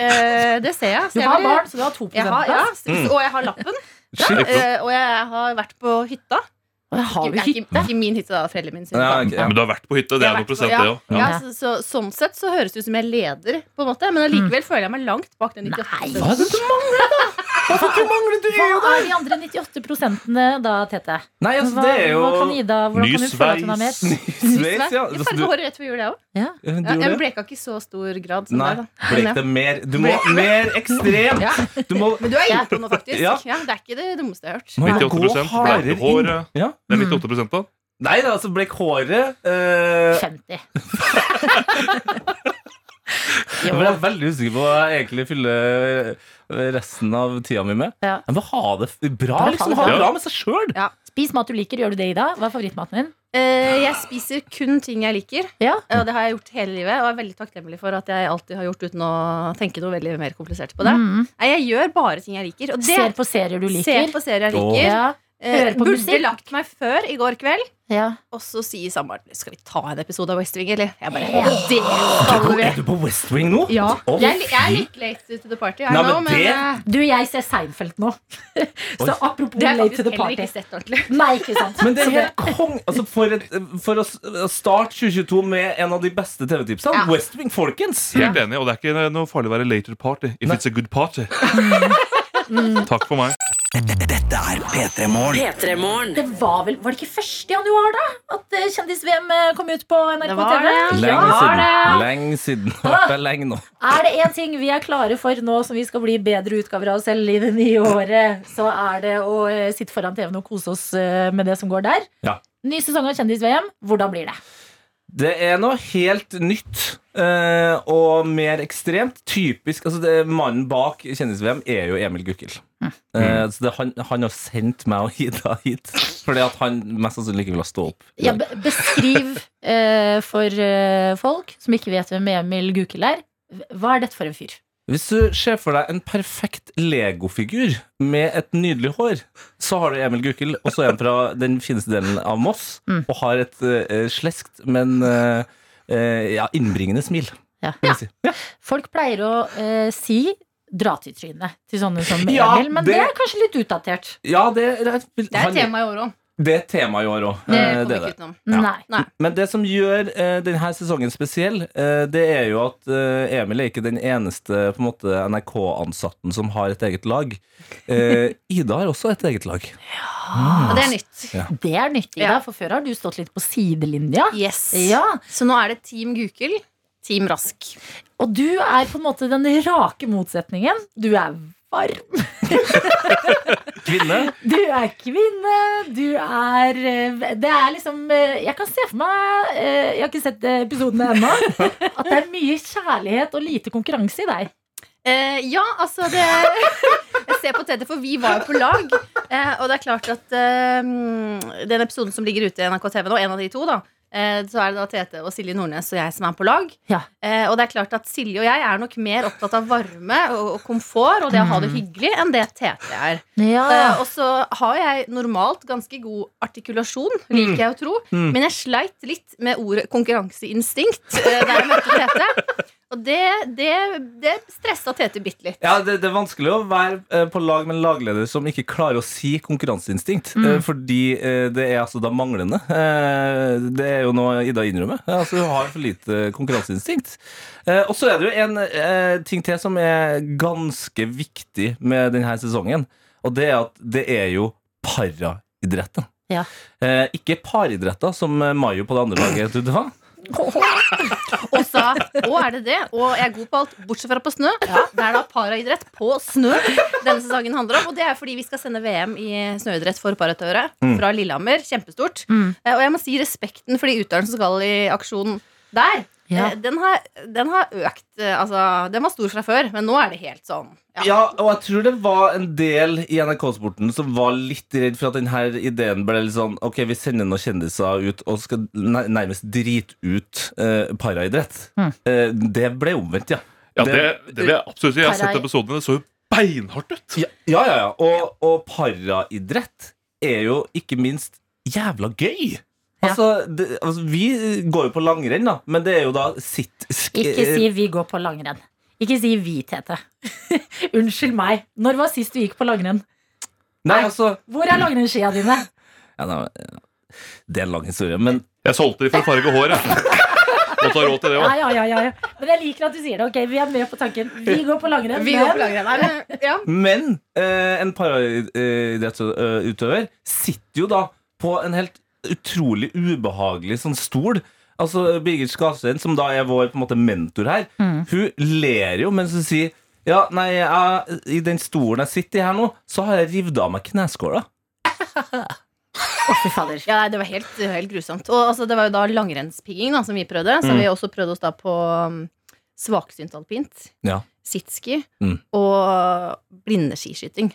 S9: Eh, det ser jeg. Så
S4: du
S9: jeg
S4: har
S9: vil-
S4: barn, så du har 2
S9: Jeg har, ja, s- s- og jeg har lappen.
S5: Mm.
S9: Eh, og jeg har vært på hytta.
S4: Og jeg har
S9: Ikke,
S4: jo
S9: ikke,
S4: hytte.
S9: ikke min hytte, da. Foreldrene mine sin hytte.
S8: Ja, ok, ja.
S5: Men du har vært på hytte. Det
S9: Jeg
S5: er
S9: har
S5: noen
S9: vært på-
S5: prosent, det òg. Ja.
S9: ja. Ja, så, så, sånn sett så høres det ut som jeg leder, på en måte. Men allikevel føler jeg meg langt bak den 98
S8: Hva er det du mangler, da? Hva er det du mangler? Du
S4: Hva
S8: er jo
S4: er de andre 98 prosentene da, Tete?
S8: Nei, altså,
S4: Hva,
S8: det er jo
S4: hva kan Ida, hvordan
S5: Ny
S4: kan hun føle at hun har mer?
S5: sveis.
S8: Sveis, ja.
S9: Jeg
S8: Altså,
S9: farget
S8: du,
S9: håret rett før jul, jeg òg.
S4: Ja.
S8: ja, du
S9: Ja,
S8: gjorde
S9: jeg
S8: det.
S9: bleka ikke i så stor grad som
S8: Nei,
S9: deg, da.
S8: blek det mer. Du må mer ekstrem.
S9: Ja.
S8: Du må
S9: Men du er inne på noe, faktisk.
S8: Ja.
S9: Ja. det er ikke det dummeste jeg har hørt.
S8: Nei.
S5: 98
S8: Gå hardere
S5: bleike hår.
S8: inn. Ja.
S5: Det er
S9: Mm.
S5: 98 da.
S8: Nei da, altså, blek håret eh,
S4: 50.
S8: Jeg ble veldig usikker på hva jeg egentlig fyller eh, resten av tida mi med.
S4: Ja.
S8: Jeg må ha det f- bra,
S4: Bare
S8: liksom.
S4: ha
S8: Ha
S5: det
S8: det
S5: bra.
S8: bra med seg sjøl.
S4: Spis mat du liker. Gjør du det, Ida? Hva er favorittmaten din?
S9: Eh, jeg spiser kun ting jeg liker,
S4: Ja.
S9: og det har jeg gjort hele livet. Og er veldig takknemlig for at jeg alltid har gjort uten å tenke noe veldig mer komplisert på det.
S4: Mm.
S9: Nei, jeg gjør bare ting jeg liker. Og det
S4: Ser på serier du
S9: ser
S4: liker.
S9: på serier jeg
S8: Åh.
S9: liker.
S4: Ja.
S9: Eh,
S4: Hører på
S9: burde
S4: musikk.
S9: lagt meg før i går kveld.
S4: Ja.
S9: Og så sier samboeren Skal vi ta en episode av West Wing, eller? Jeg bare Det skal vi!
S8: Er du på West Wing nå?
S9: Ja.
S8: Å,
S9: Jeg, jeg er litt late to the party. I
S8: Nei, men
S9: know, men
S8: det-
S9: eh,
S4: Du, jeg ser Seinfeld nå. Så apropos
S9: det har jeg
S4: late to
S9: faktisk
S4: the
S9: heller
S4: party.
S9: ikke sett ordentlig.
S4: Nei, ikke sant.
S8: Men det
S4: Så
S8: er helt kong altså for, et, for å s- å starte 2022 med en av de beste TV-tipsene.
S9: Ja.
S8: West Wing, folkens!
S5: Helt enig. Og det er ikke noe farlig å være later party if
S8: Nei.
S5: it's a good party.
S9: Mm.
S5: Takk for meg.
S2: Dette er P3 Morgen.
S3: P3morgen.
S4: Det var vel Var det ikke 1. januar, da? At eh, Kjendis-VM eh, kom ut på NRK
S9: Det var
S4: TV?
S9: det.
S4: Ja,
S8: Lenge
S4: var
S8: siden.
S4: det.
S8: Lenge siden. Det er lenge nå.
S4: Er det én ting vi er klare for nå som vi skal bli bedre utgaver av oss selv i det nye året, så er det å eh, sitte foran TV-en og kose oss eh, med det som går der.
S8: Ja.
S4: Ny sesong av Kjendis-VM. Hvordan blir det?
S8: Det er noe helt nytt eh, og mer ekstremt. Typisk altså det, Mannen bak Kjendis-VM er jo Emil Gukild. Eh, så det, han, han har sendt meg og Ida hit fordi at han mest sannsynlig ikke ville stå opp.
S4: Ja, be- beskriv eh, for eh, folk som ikke vet hvem Emil Gukild er. Hva er dette for en fyr?
S8: Hvis du ser for deg en perfekt legofigur med et nydelig hår, så har du Emil Gukild, og så er han fra den fineste delen av Moss,
S4: Mm.
S8: og har et eh, sleskt, men eh, eh, ja, innbringende smil.
S4: Ja.
S8: vil jeg si.
S4: Folk pleier å eh, si dra til trynet til sånne som
S8: Ja,
S4: Emil, men det...
S8: det
S4: er kanskje litt utdatert.
S8: Ja, det, det,
S9: Det er tema i år òg.
S8: Det er tema i år Eh, òg.
S9: Det kommer ikke utenom.
S8: Ja.
S4: Nei.
S9: Nei.
S8: Men det som gjør eh, denne sesongen spesiell, eh, det er jo at eh, Emil er ikke den eneste på en måte NRK-ansatten som har et eget lag. Eh, Ida har også et eget lag.
S4: Ah.
S9: Og det er nytt.
S4: Det er nyttig,
S9: Ja.
S4: da, for før har du stått litt på sidelinja.
S9: Yes.
S4: Ja,
S9: Så nå er det Team Gukild, Team Rask.
S4: Og du er på en måte den rake motsetningen. Du er varm,
S8: Kvinne.
S4: du er kvinne, du er eh, Det er liksom eh, Jeg kan se for meg eh, Jeg har ikke sett eh, episodene ennå. At det er mye kjærlighet og lite konkurranse i deg.
S9: Eh, ja, altså det Jeg ser på Teddy, for vi var jo på lag. Eh, og det er klart at eh, den episoden som ligger ute i NRK TV nå, en av de to, da eh, så er det da Tete og Silje Nordnes og jeg som er på lag.
S4: Ja.
S9: Eh, og det er klart at Silje og jeg er nok mer opptatt av varme og, og komfort og det å ha
S4: Mm.
S9: det hyggelig enn det Tete er. Eh, og så har jeg normalt ganske god artikulasjon, liker jeg å tro. Men jeg sleit litt med ordet konkurranseinstinkt eh, da jeg møtte Tete. Og det, det, det stressa Tete bitte litt.
S8: Ja, det, det er vanskelig å være eh, på lag med en lagleder som ikke klarer å si konkurranseinstinkt. eh, Fordi eh, det er altså da manglende. Eh, Det er jo noe Ida innrømmer. Eh, Altså Hun har for lite konkurranseinstinkt. Eh, Og så er det jo en eh, ting til som er ganske viktig med denne sesongen. Og det er at det er jo paraidretten.
S4: Ja.
S8: Eh, ikke paridretter, som eh, Mayo på det andre laget trodde det var.
S9: Og sa 'Å, er det det?' Og jeg er god på alt, bortsett fra på snø. Det er da paraidrett på snø denne sesongen handler om. Og det er fordi vi skal sende VM i snøidrett for paratøyere fra Lillehammer. Kjempestort.
S4: Mm.
S9: Eh, Og jeg må si respekten for de utøverne som skal i aksjon der.
S4: Ja.
S9: Eh, Den, har, den har økt. eh, Altså, den var stor fra før, men nå er det helt sånn. Ja.
S8: Ja, og jeg tror det var en del i NRK-sporten som var litt redd for at denne ideen ble litt sånn Ok, vi sender noen kjendiser ut og skal nær- nærmest drite ut eh, paraidrett.
S4: Mm.
S8: Eh, det ble omvendt, ja.
S5: Ja, det, det vil jeg absolutt si. Jeg har sett
S9: Parai-
S5: episoden. Det så jo beinhardt ut.
S8: Ja, ja, ja. ja. Og, og paraidrett er jo ikke minst jævla gøy. Altså, det, altså, vi går jo på langrenn, da, men det er jo da sitt... sk-
S4: Ikke si 'vi går på langrenn'. Ikke si 'vi, Tete'. Unnskyld meg. Når var sist du gikk på langrenn?
S8: Nei, altså
S4: Hvor er langrennsskia dine?
S8: ja, nei, ja. Det er en lang historie, men
S5: Jeg solgte de for å farge hår, jeg. Må ta råd til det
S4: Ja,
S5: òg.
S4: ja, ja, ja. Men jeg liker at du sier det. Ok, Vi er med på tanken. Vi går på langrenn.
S9: Vi går på langrenn her. men- Ja.
S8: Men eh, en paraidrettsutøver sitter jo da på en helt utrolig ubehagelig sånn stol. Altså Birgit Skarstein, som da er vår på en måte mentor her,
S9: Mm.
S8: hun ler jo mens hun sier ja, nei, jeg, I den stolen jeg sitter i her nå, så har jeg revet av meg kneskåla.
S4: Fy fader.
S9: Ja, nei, det var helt, helt grusomt. Og altså, det var jo da langrennspigging da, som vi prøvde. Som
S8: Mm.
S9: vi også prøvde oss da på um, svaksynt alpint,
S8: Ja.
S9: sitski
S8: Mm.
S9: og blindeskiskyting.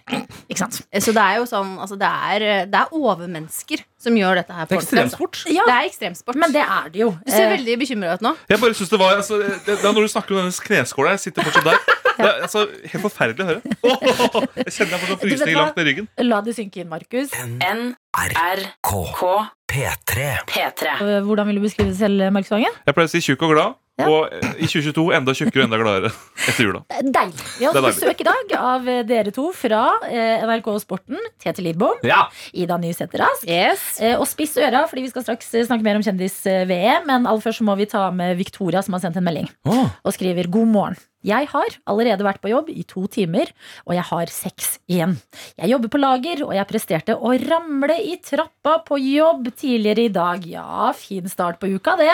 S4: Ikke sant?
S9: Eh, Så det er jo sånn altså, det, er, det er overmennesker som gjør dette her. på
S8: Det er
S9: ordentlig, altså.
S8: ekstremsport.
S4: Ja.
S9: Det er ekstremsport.
S4: Men det er det jo.
S9: du ser
S4: Eh,
S9: veldig bekymra ut nå.
S5: Jeg bare synes det var altså, det, det er Når du snakker om denne kneskåla Jeg sitter fortsatt der. Det er altså, helt forferdelig å høre. Åh, jeg kjenner jeg får sånn
S4: vet
S5: frysning
S4: hva?
S5: langt ned i ryggen.
S4: Eh, La det synke inn, Markus.
S3: NRK
S2: K. P3.
S3: P3.
S4: Eh, Hvordan vil du beskrive deg selv, Markus Vangen?
S5: Jeg pleier å si tjukk og glad,
S4: Ja.
S5: og eh, i 2022 enda tjukkere og enda gladere etter jula.
S4: Eh, Deilig. Vi har
S5: Det er
S4: også
S5: deilig.
S4: besøk i dag av eh, dere to fra eh, NRK Sporten. Tete Lidbom,
S8: Ja.
S4: Ida Nysæter Rask.
S9: Yes.
S4: Eh, Og spiss øra, fordi vi skal straks eh, snakke mer om kjendis-VM. Men aller først så må vi ta med Victoria, som har sendt en melding.
S8: Åh.
S4: Og skriver 'God morgen'. Jeg har allerede vært på jobb i to timer, og jeg har seks igjen. Jeg jobber på lager, og jeg presterte å ramle i trappa på jobb tidligere i dag. Ja, fin start på uka, det.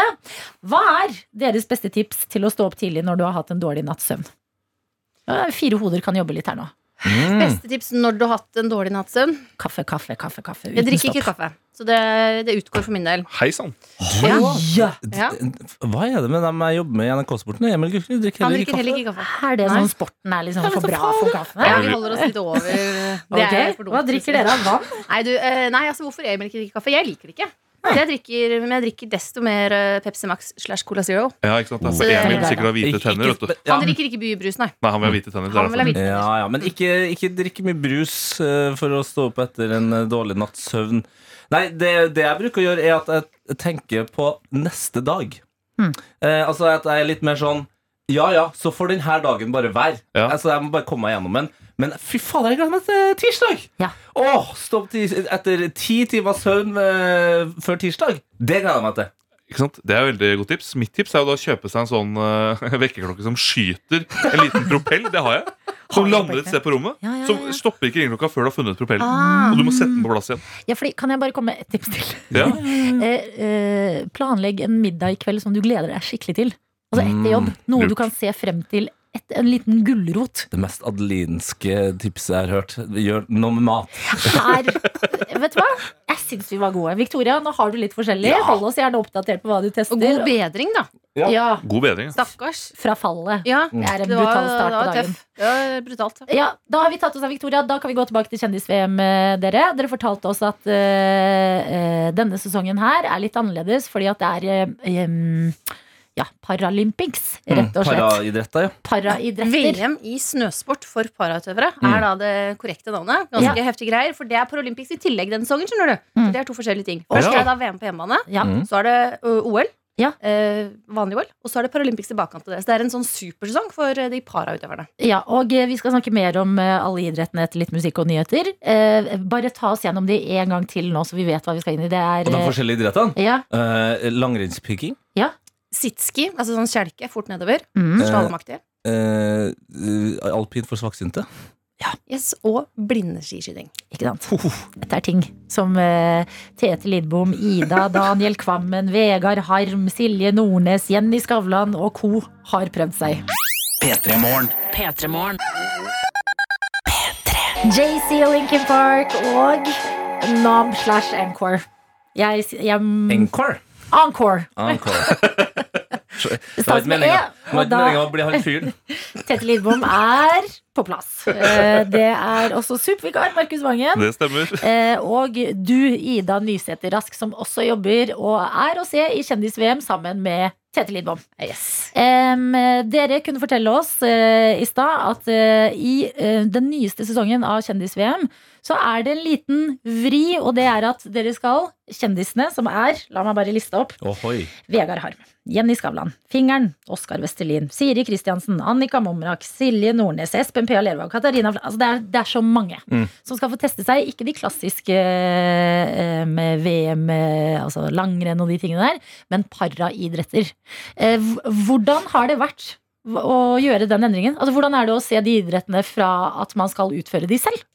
S4: Hva er deres beste tips til å stå opp tidlig når du har hatt en dårlig natts søvn? Ja, Fire hoder kan jobbe litt her nå.
S8: Mm.
S9: Beste tips når du har hatt en dårlig nattsøvn.
S4: Kaffe, kaffe, kaffe. kaffe
S9: Jeg drikker ikke kaffe, så det, det utgår for min del.
S5: Hei sann.
S9: Ja.
S4: Ja.
S9: Ja.
S8: Hva er det med dem jeg jobber med i NRK-sporten? Emil Gukild drikker
S9: Han
S8: heller ikke
S9: drikker heller
S8: kaffe.
S9: ikke kaffe.
S4: Er det
S9: Nei.
S4: sånn sporten er liksom for bra for kaffe?
S9: Ja, vi holder oss litt over. Det
S4: Ok,
S9: er for dumt.
S4: Hva drikker dere av vann?
S9: Nei, du, eh, nei altså hvorfor Emil ikke drikker kaffe? Jeg liker det ikke. Så jeg drikker, men jeg drikker desto mer eh, Pepsi Max slash Cola Zero.
S5: Ja, ikke sant? Det er
S9: Så
S5: for
S9: det er
S5: Emil
S4: deilig.
S5: sikkert har hvite
S8: Ikke-
S5: tenner. vet du.
S8: ja.
S9: Han drikker ikke bybrus, nei.
S5: Nei, han vil ha hvite tenner.
S9: Han
S5: Det er
S9: vil ha
S5: derfor.
S9: hvit
S8: Ja, ja, men ikke, ikke drikke mye brus eh, for å stå opp etter en eh, dårlig natts søvn. Nei, det, det jeg bruker å gjøre, er at jeg tenker på neste dag.
S4: Mm.
S8: Eh, altså at jeg er litt mer sånn Ja ja, så får denne dagen bare være.
S5: Ja.
S8: Altså Jeg må bare komme meg gjennom den. Men fy fader, jeg gleder meg til tirsdag!
S4: Ja.
S8: Åh, stå opp ti, etter ti timers søvn eh, før tirsdag. Det gleder jeg meg til.
S5: Ikke sant? Det er veldig godt tips. Mitt tips er jo da å kjøpe seg en sånn eh, vekkerklokke som skyter en liten propell. Det har jeg. Som
S4: du
S5: lander
S4: propell?
S5: et sted på rommet.
S4: Ja, ja, ja.
S5: Som stopper ikke ringeklokka før du har funnet propellen.
S9: Ah.
S5: Og du må sette den på plass igjen.
S4: Ja, fordi, kan jeg bare komme med et tips til?
S5: Ja.
S4: Eh, eh, planlegg en middag i kveld som du gleder deg skikkelig til. Altså etter jobb. Noe
S5: lurt.
S4: du kan se frem til et, en liten gulrot.
S8: Det mest adelinske tipset jeg har hørt. Gjør noe med mat.
S4: Her, vet du hva? Jeg syns vi var gode. Victoria, nå har du litt forskjellig. Hold oss gjerne oppdatert på hva du tester.
S9: Og god bedring, da.
S4: ja,
S5: God bedring. ass.
S9: Stakkars.
S4: fra fallet.
S9: Ja,
S5: Mm.
S4: Det er en
S9: det var,
S4: brutal start på
S9: det var
S4: dagen.
S9: tøff. Det var brutalt. Ja.
S4: Ja, Da har vi tatt oss av Victoria. Da kan vi gå tilbake til kjendis-VM, eh, dere. Dere fortalte oss at eh, eh, denne sesongen her er litt annerledes fordi at det er eh, em, ja, Paralympics,
S8: Mm,
S4: rett og slett.
S8: Paraidretter, ja.
S4: Paraidretter.
S9: VM i snøsport for parautøvere
S5: Mm.
S9: er da det korrekte navnet. Ganske heftige greier, for det er Paralympics i tillegg den sesongen. skjønner du
S4: Mm.
S9: Så Det er to forskjellige ting. Først er det da VM på hjemmebane,
S4: Ja.
S8: Mm.
S9: så er det ø, OL.
S4: Ja.
S9: Eh, vanlig OL. Og så er det Paralympics i bakkant av det. Så det er en sånn supersesong for eh, de parautøverne.
S4: Ja, og eh, vi skal snakke mer om eh, alle idrettene etter litt musikk og nyheter. Eh, bare ta oss gjennom de en gang til nå, så vi vet hva vi skal inn i. Det
S8: Og
S4: er
S8: de
S4: eh,
S8: forskjellige idrettene.
S4: ja,
S8: Uh, Langrennspiging.
S9: Sitski, altså sånn kjelke fort nedover.
S4: mm,
S9: Slalomaktig.
S8: Uh, alpint for svaksynte.
S9: Yes, og blindeskiskyting.
S4: ikke sant. Dette er ting som eh, Tete Lidbom, Ida, Daniel Kvammen, Vegard Harm, Silje Nordnes, Jenny Skavlan og co. har prøvd seg.
S2: P3 Morgen.
S3: P3morgen.
S4: JC og Linkin Park og Nom slash Encore. Jeg, s- jeg,
S8: Encore.
S4: encore.
S8: Encore. Det var
S4: Stas
S8: ikke
S4: med
S8: meninga.
S4: E,
S8: Det var
S4: og
S8: ikke
S4: da-
S8: meninga å bli han fyren.
S4: Tete Lidbom er på plass. Eh, Det er også supervikar Markus Vangen.
S5: Det stemmer.
S4: Eh, og du, Ida Nysæter Rask, som også jobber og er å se i Kjendis-VM sammen med Tete Lidbom. Em, dere kunne fortelle oss eh, i stad at eh, i eh, den nyeste sesongen av Kjendis-VM så er det en liten vri, og det er at dere skal, kjendisene som er, la meg bare liste opp,
S8: Ohoi.
S4: Vegard Harm, Jenny Skavlan, Fingeren, Oskar Westerlin, Siri Kristiansen, Annika Momrak, Silje Nordnes, Espen P. Lervåg, Katarina Fla- altså det, er, det er så mange
S8: Mm.
S4: som skal få teste seg. Ikke de klassiske eh, med VM, eh, altså langrenn og de tingene der, men paraidretter. Eh, hv- hvordan har det vært hv- å gjøre den endringen? Altså, hvordan er det å se de idrettene fra at man skal utføre de selv?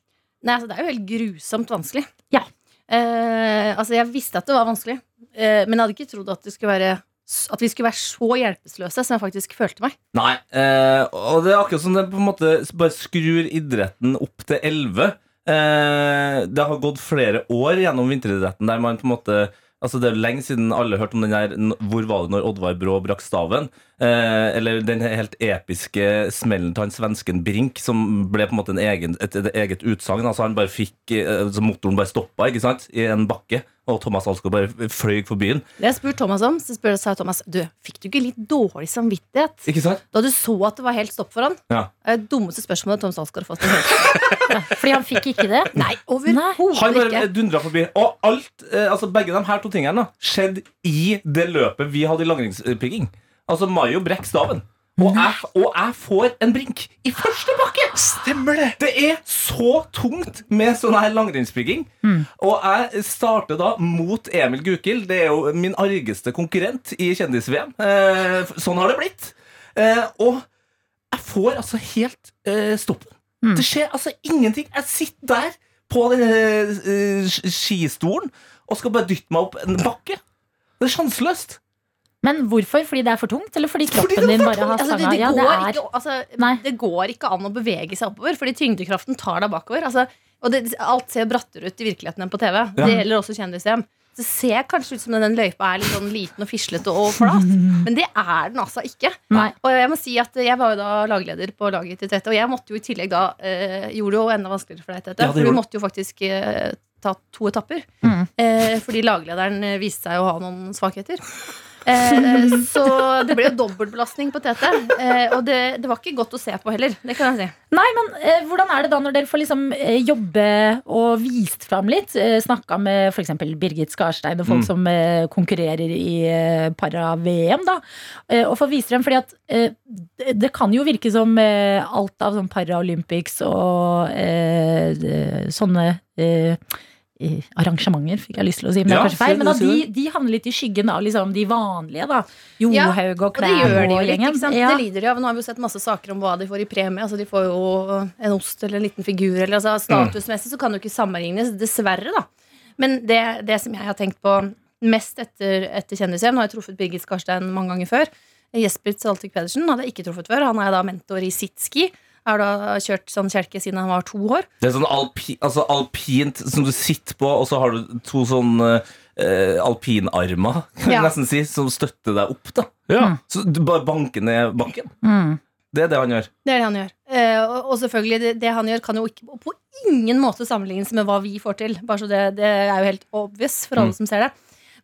S9: Nei, altså det er jo helt grusomt vanskelig.
S4: Ja.
S9: Eh, altså jeg visste at det var vanskelig, eh, men jeg hadde ikke trodd at, det skulle være, s- at vi skulle være så hjelpeløse som jeg faktisk følte meg.
S8: Nei, eh, og det er akkurat som det på en måte bare skrur idretten opp til 11. Eh, det har gått flere år gjennom vinteridretten der man på en måte Altså Det er jo lenge siden alle hørte om den her n- 'Hvor var det når Oddvar Brå brakk staven?' Eh, eller den helt episke smellen til han svensken Brink, som ble på en måte en egen, et, et eget utsagn. Altså han bare fikk eh, altså Motoren bare stoppa ikke sant? i en bakke, og Thomas Alsgaard bare fløy forbi den.
S9: Det jeg spurte Thomas om, så spør, sa Thomas Du, fikk du ikke litt dårlig samvittighet
S8: Ikke sant?
S9: da du så at det var helt stopp for han?
S8: Ja.
S9: Eh, dummeste spørsmålet Tom Stalsgaard har fått. i hele tatt.
S4: Fordi han fikk ikke det.
S9: Nei, overhodet
S8: Han
S9: ikke.
S8: bare dundra forbi. Og alt, eh, altså begge de her to tingene da, skjedde i det løpet vi hadde i langrennspigging. Altså Mayo brekk staven. Og jeg, og jeg får en brink i første bakke! Stemmer Det Det er så tungt med sånn her langrennsbygging.
S9: Mm.
S8: Og jeg starter da mot Emil Gukild. Det er jo min argeste konkurrent i kjendis-VM. Eh, f- sånn har det blitt. Eh, og jeg får altså helt eh, stoppen. Det skjer altså ingenting. Jeg sitter der på den eh, eh, skistolen og skal bare dytte meg opp en bakke. Det er sjanseløst.
S4: Men hvorfor? Fordi det er for tungt, eller fordi kroppen
S8: det er
S4: din
S8: for
S4: bare har
S9: Altså, det,
S4: stanga?
S9: det,
S4: Ja,
S9: går
S4: det er
S9: ikke, altså,
S4: Nei.
S9: det går ikke an å bevege seg oppover, fordi tyngdekraften tar deg bakover. Altså, og det, alt ser brattere ut i virkeligheten enn på TV. Det gjelder også kjendis-VM. Det ser kanskje ut som den løypa er litt sånn liten og fislete og flat, men det er den altså ikke.
S4: Nei.
S9: Og jeg må si at jeg var jo da lagleder på laget til Tete, og jeg måtte jo i tillegg da eh, Gjorde det jo enda vanskeligere for deg,
S8: Ja,
S9: Tete,
S8: det
S9: for
S8: gjorde
S9: du måtte jo faktisk eh, ta to etapper.
S4: Mm.
S9: Eh, fordi laglederen eh, viste seg å ha noen svakheter. Eh, så det ble jo dobbeltbelastning på Tete. Eh, og det, det var ikke godt å se på heller. Det kan jeg si.
S4: Nei, men eh, hvordan er det da når dere får liksom eh, jobbe og vist fram litt? Eh, snakka med f.eks. Birgit Skarstein
S8: Mm.
S4: og folk som eh, konkurrerer i eh, para-VM, da. Eh, og får vist frem, fordi at eh, det- det kan jo virke som eh, alt av sånn Paralympics og eh, eh, sånne eh, eh, Arrangementer, fikk jeg lyst til å si, men det
S8: Ja,
S4: er kanskje feil.
S8: si det,
S4: Men da,
S8: si
S4: de,
S8: det.
S4: de handler litt i skyggen av liksom, de vanlige, da.
S9: Ja,
S4: Johaug og
S9: Og det gjør de
S4: Klæbo
S9: jo
S4: og
S9: litt.
S4: gjengen.
S9: Ikke sant?
S4: Ja.
S9: Det lider de av. Nå har vi jo sett masse saker om hva de får i premie. Altså, de får jo en ost eller en liten figur. Eller, altså, statusmessig så kan det jo ikke sammenlignes, dessverre. da Men det, det som jeg har tenkt på mest etter, etter Kjendis-VM Nå har jeg truffet Birgit Skarstein mange ganger før. Jesper Saltvik Pedersen hadde jeg ikke truffet før. Han er da mentor i sitski. Har da kjørt sandkjelke siden han var to år.
S8: Det er sånn alpi, altså alpint som du sitter på, og så har du to sånn eh, alpinarmer, kan jeg
S9: Ja.
S8: nesten si, som støtter deg opp, da. Mm. Så du bare banker ned bakken.
S4: Mm.
S8: Det er det han gjør.
S9: Det er det han gjør. Eh, og, og selvfølgelig, det, det han gjør, kan jo ikke på ingen måte sammenlignes med hva vi får til. Bare så det, det er jo helt obvious for
S8: Mm.
S9: alle som ser det.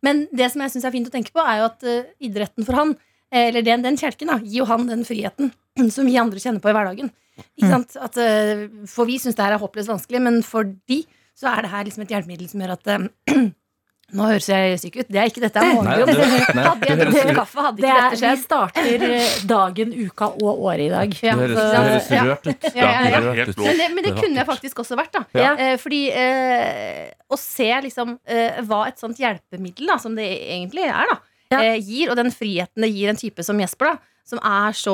S9: Men det som jeg syns er fint å tenke på, er jo at eh, idretten for han, eh, eller den, den kjelken, da, gir jo han den friheten som vi andre kjenner på i hverdagen. Ikke
S8: Mm.
S9: sant? At, eh, for vi syns det her er håpløst vanskelig, men for de så er det her liksom et hjelpemiddel som gjør at eh, Nå høres jeg syk ut. Det er ikke dette jeg
S8: Nei,
S9: måler
S8: du,
S9: om.
S8: nei,
S9: Hadde jeg
S8: du høres-
S9: drukket kaffe, hadde
S4: Det
S9: ikke
S4: er, vi
S9: dette skjedd.
S4: starter eh, dagen, uka og året i dag.
S9: Ja,
S8: du høres,
S9: så-
S8: du høres
S9: ja.
S8: rørt ut.
S9: Ja, ja, ja.
S8: Rørt
S5: Helt
S8: ut.
S5: blå.
S9: Men det, men det
S8: Det er
S9: kunne jeg faktisk også vært. da
S4: Ja.
S9: eh, Fordi eh, å se liksom eh, hva et sånt hjelpemiddel, da, som det egentlig er, da
S4: Ja.
S9: eh, gir, og den friheten det gir en type som Jesper, da som er så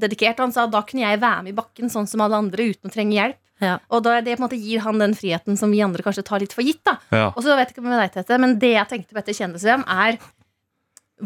S9: dedikert. Han sa da kunne jeg være med i bakken sånn som alle andre uten å trenge hjelp.
S4: Ja.
S9: Og da, det på en måte gir han den friheten som vi andre kanskje tar litt for gitt. da
S5: Ja.
S9: Og så vet jeg ikke med deg, Tete, men det jeg tenkte på etter Kjendis-VM, er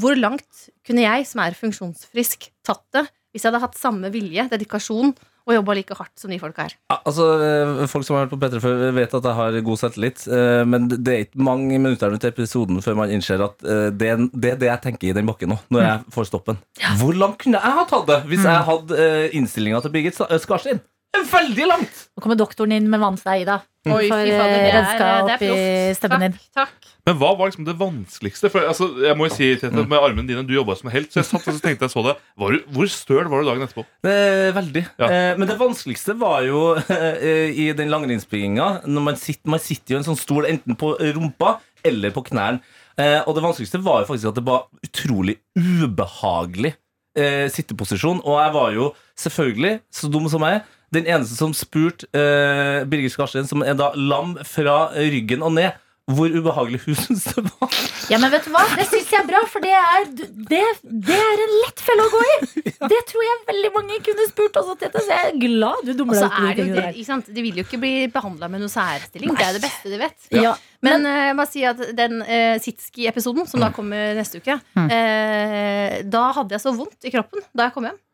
S9: hvor langt kunne jeg, som er funksjonsfrisk, tatt det hvis jeg hadde hatt samme vilje, dedikasjon og jobba like hardt som de folka her?
S8: Ja, Altså, eh, Folk som har vært på P3 før, vet at jeg har god selvtillit. eh, Men det er ikke mange minuttene til episoden før man innser at eh, det er det, er det jeg tenker i den bakken nå, når jeg får stoppen. Hvor langt kunne jeg ha tatt det hvis jeg hadde innstillinga til Birgit Sa- Skarstein? Veldig langt!
S4: Nå kommer doktoren inn med vannstein, da.
S9: Oi,
S4: For,
S9: fy fader,
S4: eh,
S9: det er-
S4: renska
S9: det er
S4: opp i
S9: proft.
S4: stemmen din.
S9: Takk, takk.
S5: Men hva var liksom det vanskeligste? For, altså, jeg må jo si, Tete, med armene dine, Du jobba som helt, så jeg satt og så tenkte jeg så det. Var du, hvor støl var du dagen etterpå?
S8: Eh, Veldig.
S5: Ja.
S8: Eh, Men det vanskeligste var jo eh, i den langrennsbygginga. når Man sitter, man sitter jo i en sånn stol enten på rumpa eller på knærne. Eh, Og det vanskeligste var jo faktisk at det var utrolig ubehagelig eh, sitteposisjon. Og jeg var jo selvfølgelig, så dum som jeg er, den eneste som spurte eh, Birger Skarstein, som er da lam fra ryggen og ned, hvor ubehagelig hun syntes det var.
S4: Ja, men vet du hva? Det syns jeg er bra, for det er, det, det er en lett felle å gå i. Det tror jeg veldig mange kunne spurt også, Tete, så jeg er glad du
S9: Og
S4: dummer
S9: så
S4: deg ut i de
S9: er det jo det,
S4: tingene der.
S9: ikke sant? De vil jo ikke bli behandla med noe særstilling. Det er det beste de vet.
S4: Ja.
S9: Men eh, jeg må si at den eh, Sitski-episoden som da kommer neste uke, eh, da hadde jeg så vondt i kroppen da jeg kom hjem.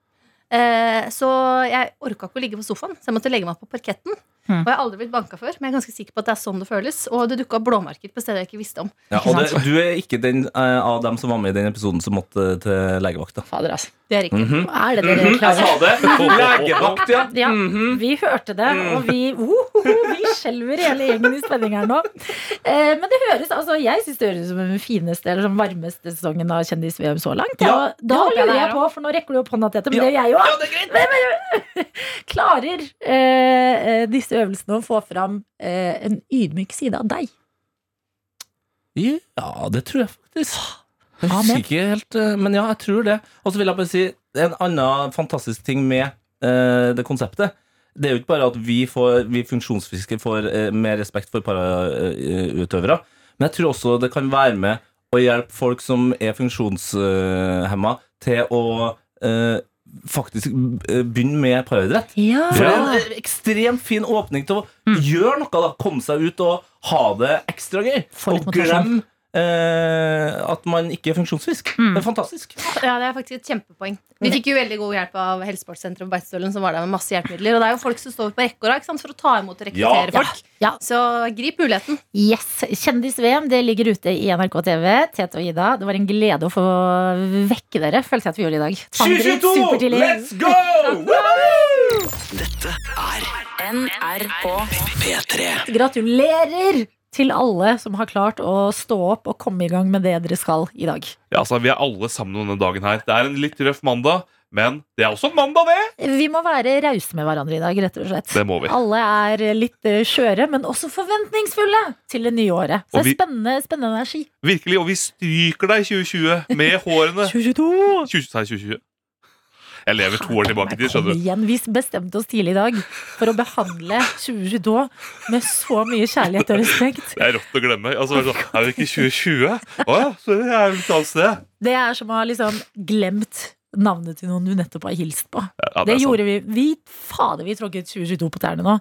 S9: Eh, så jeg orka ikke å ligge på sofaen, så jeg måtte legge meg på parketten.
S4: Mm.
S9: Og jeg har aldri blitt banka før, men jeg er ganske sikker på at det er sånn det føles. Og det dukka opp blåmerker på steder jeg ikke visste om.
S8: Ja, og det, du er ikke den eh, av dem som var med i den episoden som måtte til legevakta.
S4: Fader, altså.
S9: Det er riktig.
S8: Mhm.
S4: Hva er det dere klarer?
S8: det! Legevakt, ja. Mhm.
S4: Ja, vi hørte det, og vi, Ohoho, vi skjelver hele gjengen i spenning her nå. Eh, men det høres, altså, jeg syns det høres ut som den fineste eller sånn varmeste sesongen av Kjendis-VM så langt.
S8: Ja,
S4: og da
S9: det håper jeg
S4: lurer
S9: det er
S4: jeg på, for nå rekker du opp hånda, Tete, men det gjør jeg jo.
S8: det er greit.
S4: Klarer eh, eh, disse øvelsene å få fram eh, en ydmyk side av deg?
S8: Ja, det tror jeg faktisk. Jeg
S4: Amen.
S8: husker ikke helt, eh, men ja, jeg tror det. Og så vil jeg bare si en annen fantastisk ting med eh, det konseptet. Det er jo ikke bare at vi, får, vi funksjonsfiske får eh, mer respekt for parautøvere, men jeg tror også det kan være med å hjelpe folk som er funksjonshemma, til å eh, faktisk eh, begynne med paraidrett.
S4: Ja.
S8: For det er en ekstremt fin åpning til å gjøre noe, da. Komme seg ut og ha det ekstra gøy.
S4: Få litt
S8: Og glem
S4: motivasjon.
S8: eh, at man ikke er funksjonsfisk. Det
S4: Mm.
S8: er fantastisk.
S9: Ja, det er faktisk et kjempepoeng. Vi fikk jo veldig god hjelp av Helsesportsenteret på Beitostølen, som var der med masse hjelpemidler. Og det er jo folk som står på rekke og rad ikke sant, for å ta imot og rekruttere
S4: Ja.
S9: folk.
S4: Ja.
S9: Så grip muligheten.
S4: Yes, Kjendis-VM det ligger ute i NRK TV. Tete og Ida, det var en glede å få vekke dere, følte jeg at vi gjorde i dag. Tandrit, supertidlig.
S8: go!
S3: NRK
S2: P3.
S4: Gratulerer til alle som har klart å stå opp og komme i gang med det dere skal i dag.
S5: Ja, altså, Vi er alle sammen om denne dagen her. Det er en litt røff mandag, men det er også en mandag, det!
S4: Vi må være rause med hverandre i dag, rett og slett.
S5: Det må vi.
S4: Alle er litt eh, skjøre, men også forventningsfulle til det nye året. Så
S5: Og
S4: det er
S5: vi-
S4: spennende, spennende energi.
S5: Virkelig, Og vi stryker deg i 2020 med hårene.
S4: 2022!
S5: 20, sa jeg 2020? Jeg lever to år tilbake i tid, skjønner du.
S4: Igjen, vi bestemte oss tidlig i dag for å behandle 2022 med så mye kjærlighet og respekt.
S5: Det er rått å glemme. Altså, bare sånn, er det ikke 2020? Å ja, så er jeg et annet sted.
S4: Det er som å ha liksom glemt navnet til noen du nettopp har hilst på.
S5: Ja,
S4: det
S5: er sant.
S4: gjorde vi. vi. Fader, vi tråkket 2022 på tærne nå.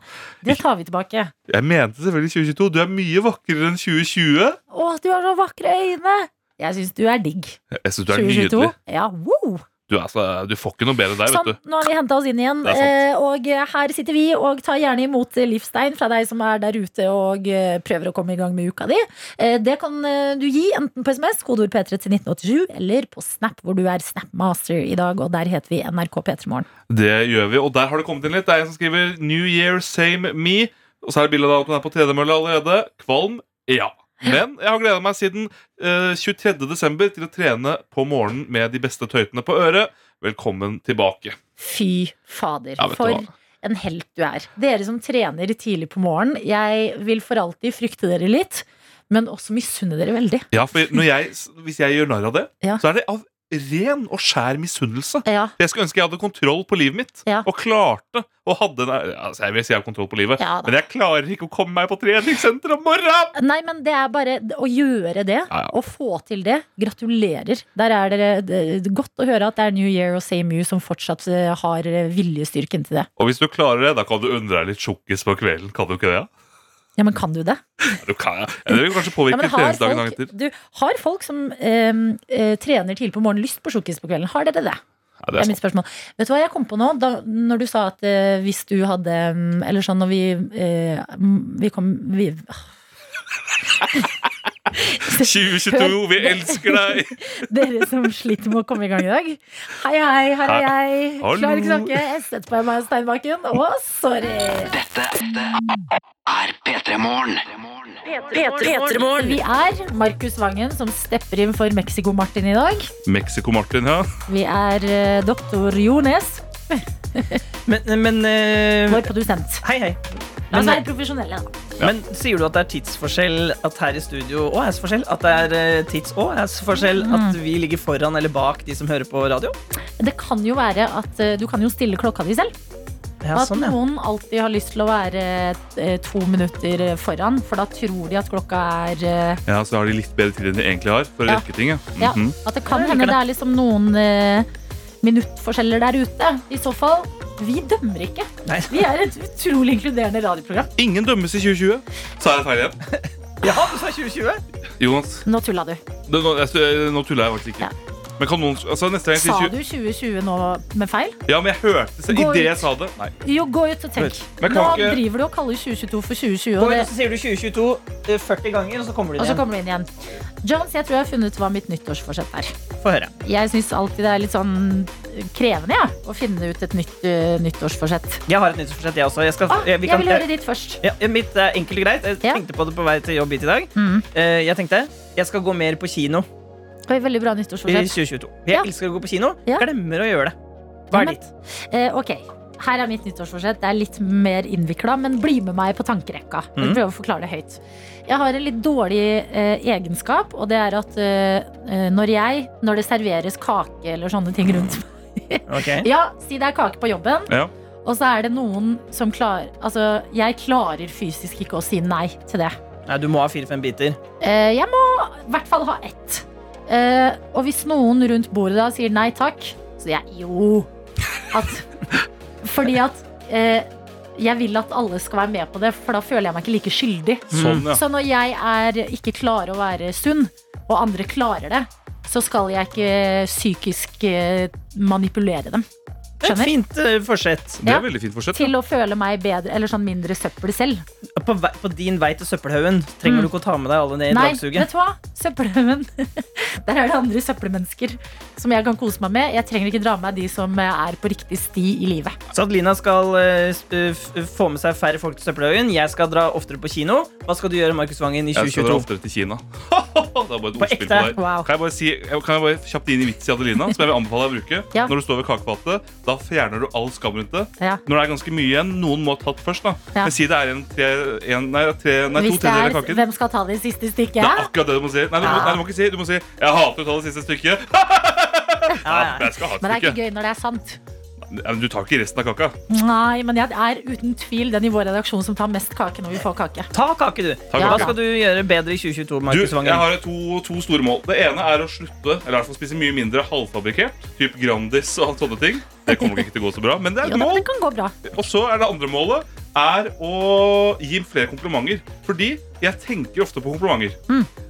S4: Det tar vi tilbake.
S5: Jeg mente selvfølgelig 2022. Du er mye vakrere enn 2020.
S4: Å, du har så vakre øyne! Jeg syns du er digg.
S5: Jeg syns du er nydelig.
S4: Ja, wow.
S5: Du, er så- du får ikke noe bedre der,
S4: Sånn,
S5: vet du.
S4: nå har vi henta oss inn igjen.
S5: Det er sant.
S4: eh, Og her sitter vi og tar gjerne imot eh, livstegn fra deg som er der ute og eh, prøver å komme i gang med uka di. Eh, Det kan eh, du gi enten på SMS, kodeord P3 til 1987, eller på Snap, hvor du er Snapmaster i dag, og der heter vi NRK P3morgen.
S5: Det gjør vi, og der har det kommet inn litt. Det er en som skriver 'New Year, same me'. Og så er det bilde av at hun er på tredemølla allerede. Kvalm? Ja. Men jeg har gleda meg siden eh, 23. desember til å trene på morgenen med de beste tøytene på øret. Velkommen tilbake.
S4: Fy fader.
S5: Ja, vet du
S4: for
S5: hva.
S4: en helt du er. Dere som trener tidlig på morgenen, jeg vil for alltid frykte dere litt, men også misunne dere veldig.
S5: Ja, for når jeg, Hvis jeg gjør narr av det,
S4: Ja.
S5: så er det av ren og skjær misunnelse.
S4: Ja.
S5: Jeg skulle ønske jeg hadde kontroll på livet mitt
S4: Ja.
S5: og klarte og hadde en, altså Jeg vil si jeg har kontroll på livet,
S4: Ja, da.
S5: men jeg klarer ikke å komme meg på treningssenter om morgenen!
S4: Nei, men det er bare å gjøre det,
S5: Ja, ja.
S4: å få til det. Gratulerer. Der er dere det er Godt å høre at det er New Year og Same You som fortsatt eh, har viljestyrken til det.
S5: Og hvis du klarer det, da kan du undre deg litt tjukkis på kvelden. Kan du ikke det? Ja?
S4: Ja, men kan du det?
S5: Du kan, ja. Det vil kanskje
S4: Ja,
S5: påvirke
S4: men har,
S5: treningsdagen dagen
S4: folk,
S5: etter.
S4: du, har folk som eh, eh, trener tidlig på morgenen, lyst på sjokkis på kvelden? Har dere det?
S5: Ja,
S4: Det
S5: det
S4: er
S5: er
S4: mitt spørsmål. Vet du hva jeg kom på nå? Da, når du sa at eh, hvis du hadde mm, Eller sånn når vi eh, mm, Vi kom vi,
S5: sant. 2022, vi elsker deg!
S4: Dere som sliter med å komme i gang i dag. Hei, hei, her er jeg.
S5: Hallo.
S4: Klarer ikke å snakke. Jeg setter på meg Steinbakken. Å, sorry.
S3: Er P3 Morgen.
S10: Petremorne.
S4: Vi er Markus Vangen som stepper inn for Mexico-Martin i dag.
S5: Mexico-Martin, ja.
S4: Vi er eh, doktor Jones,
S6: Men, men eh,
S4: vår produsent.
S6: Hei, hei.
S4: La oss
S6: Men,
S4: være profesjonelle, da.
S6: men sier du at det er tidsforskjell at her i studio og æsforskjell? At det er eh, tids- og æsforskjell
S4: Mm.
S6: at vi ligger foran eller bak de som hører på radio?
S4: Det kan jo være at eh, du kan jo stille klokka di selv.
S6: Ja,
S4: At
S6: sånn, ja.
S4: noen alltid har lyst til å være eh, to minutter foran, for da tror de at klokka er eh,
S5: ja. Så har de litt bedre tid enn de egentlig har for å
S4: Ja.
S5: rekke ting. Ja.
S4: Ja,
S5: Mhm.
S4: at det kan
S6: Jeg liker
S4: hende
S6: det.
S4: det er liksom noen eh, minuttforskjeller der ute. I så fall, vi dømmer ikke.
S6: Nei.
S4: Vi er et utrolig inkluderende radioprogram.
S5: Ingen dømmes i 2020. Sa jeg feil igjen?
S6: ja, du sa 2020?
S5: Jonas,
S4: Nå tulla du.
S5: det, nå, jeg, nå tuller jeg faktisk
S4: Ja.
S5: ikke. Men kan noen altså neste gang jeg
S4: Sa
S5: sier
S4: du 2020 nå med feil?
S5: 20 Ja, men jeg hørte
S4: Gå
S5: idet jeg
S4: ut.
S5: sa det. Nei.
S4: Jo, gå ut og tenk.
S5: Men kan
S4: Nå
S5: ikke-
S4: driver du og kaller 2022 for 2020.
S6: Går,
S4: Og,
S6: så
S4: det,
S6: sier du 2022 40 eh, ganger, og så kommer du
S4: og så
S6: igjen.
S4: kommer du inn igjen. Jones, jeg tror jeg har funnet ut hva mitt nyttårsforsett er.
S6: Få høre.
S4: Jeg syns alltid det er litt sånn krevende ja, å finne ut et nytt eh, nyttårsforsett.
S6: Jeg har et nyttårsforsett, jeg også. Jeg skal,
S4: Ah,
S6: jeg, Eh, vi
S4: jeg
S6: kan,
S4: vil høre ditt først.
S6: ja, mitt er enkelt og greit. Jeg
S4: Ja. Mm.
S6: tenkte på det på vei til jobb hit i dag. Eh, Jeg tenkte jeg skal gå mer på kino
S4: Oi, veldig bra
S6: i
S4: nyttårsforsett.
S6: 2022. Jeg
S4: Ja.
S6: elsker å gå på kino.
S4: Ja.
S6: Glemmer å gjøre det. Hva
S4: Ja,
S6: er
S4: men-
S6: ditt?
S4: Eh, ok, her er mitt nyttårsforsett. Det er litt mer innvikla, men bli med meg på tankerekka.
S6: Mhm.
S4: Jeg prøver å forklare det høyt. Jeg har en litt dårlig eh, egenskap, og det er at eh, når jeg, når det serveres kake eller sånne ting rundt meg
S6: Ok.
S4: Ja, si det er kake på jobben,
S5: Ja.
S4: og så er det noen som klarer Altså, jeg klarer fysisk ikke å si nei til det.
S6: Nei, du må ha fire-fem biter.
S4: Eh, Jeg må i hvert fall ha ett. Eh, og hvis noen rundt bordet da sier nei takk, så sier jeg jo. At, fordi at eh, jeg vil at alle skal være med på det, for da føler jeg meg ikke like skyldig.
S5: Sånn, ja.
S4: Mm. Så når jeg er ikke klarer å være sunn, og andre klarer det, så skal jeg ikke psykisk eh, manipulere dem.
S6: Det er
S4: Skjønner.
S6: et fint eh, forsett.
S5: Det
S4: Ja.
S5: er veldig fint forsett.
S4: Til å føle meg bedre, eller sånn mindre søppel selv.
S6: På, vei, på din vei til søppelhaugen trenger du ikke å ta med deg alle ned i
S4: Mm. Nei,
S6: dagsuget.
S4: vet du hva? Søppelhaugen. Der er det andre søppelmennesker som jeg kan kose meg med. Jeg trenger ikke dra med meg de som er på riktig sti i livet.
S6: Så Adelina skal eh, s- eh, f- få med seg færre folk til søppelhaugen. Jeg skal dra oftere på kino. Hva skal du gjøre, Markus Vangen, i
S5: Jeg skal dra
S6: 2022?
S5: oftere til Kina. det er bare et ordspill på
S6: ekte?
S5: deg.
S4: Wow.
S5: Kan jeg bare, si, kan jeg bare kjapt inn i vits i Adelina, som jeg vil anbefale deg å bruke?
S4: Ja.
S5: Når du står ved kakefatet, da fjerner du all skam rundt det.
S4: Ja.
S5: Når det er ganske mye igjen, noen må ha tatt først, da.
S4: Ja.
S5: Men si det er en, tre, en nei, tre, nei, to
S4: Hvis det
S5: tredjedeler
S4: er,
S5: av kaken.
S4: hvem skal ta det siste stykket?
S5: Det er akkurat det du må si. Nei, du må,
S4: Ja.
S5: nei, du må ikke si Du må si 'Jeg hater å ta det siste stykket'.
S6: Ja, ja.
S5: Jeg skal ha
S4: Men
S5: et
S4: det er
S5: stykke.
S4: ikke gøy når det er sant.
S5: Ja, men Du tar ikke resten av kaka.
S4: Nei, men jeg er uten tvil den i vår redaksjon som tar mest kake når vi får kake.
S6: Ta kake, du.
S5: kake.
S6: Hva skal du gjøre bedre i 2022,
S5: Du,
S6: Markus
S5: jeg
S6: Vangen?
S5: har to, to store mål. Det ene er å slutte Eller i hvert fall spise mye mindre halvfabrikert. Typ Grandis og sånne ting. Det kommer nok ikke til å gå så bra, men det er
S4: Jo,
S5: et
S4: da,
S5: mål.
S4: men det kan gå bra.
S5: Og så er det andre målet
S4: Mm.
S5: er å gi flere komplimenter. Fordi jeg tenker ofte på komplimenter.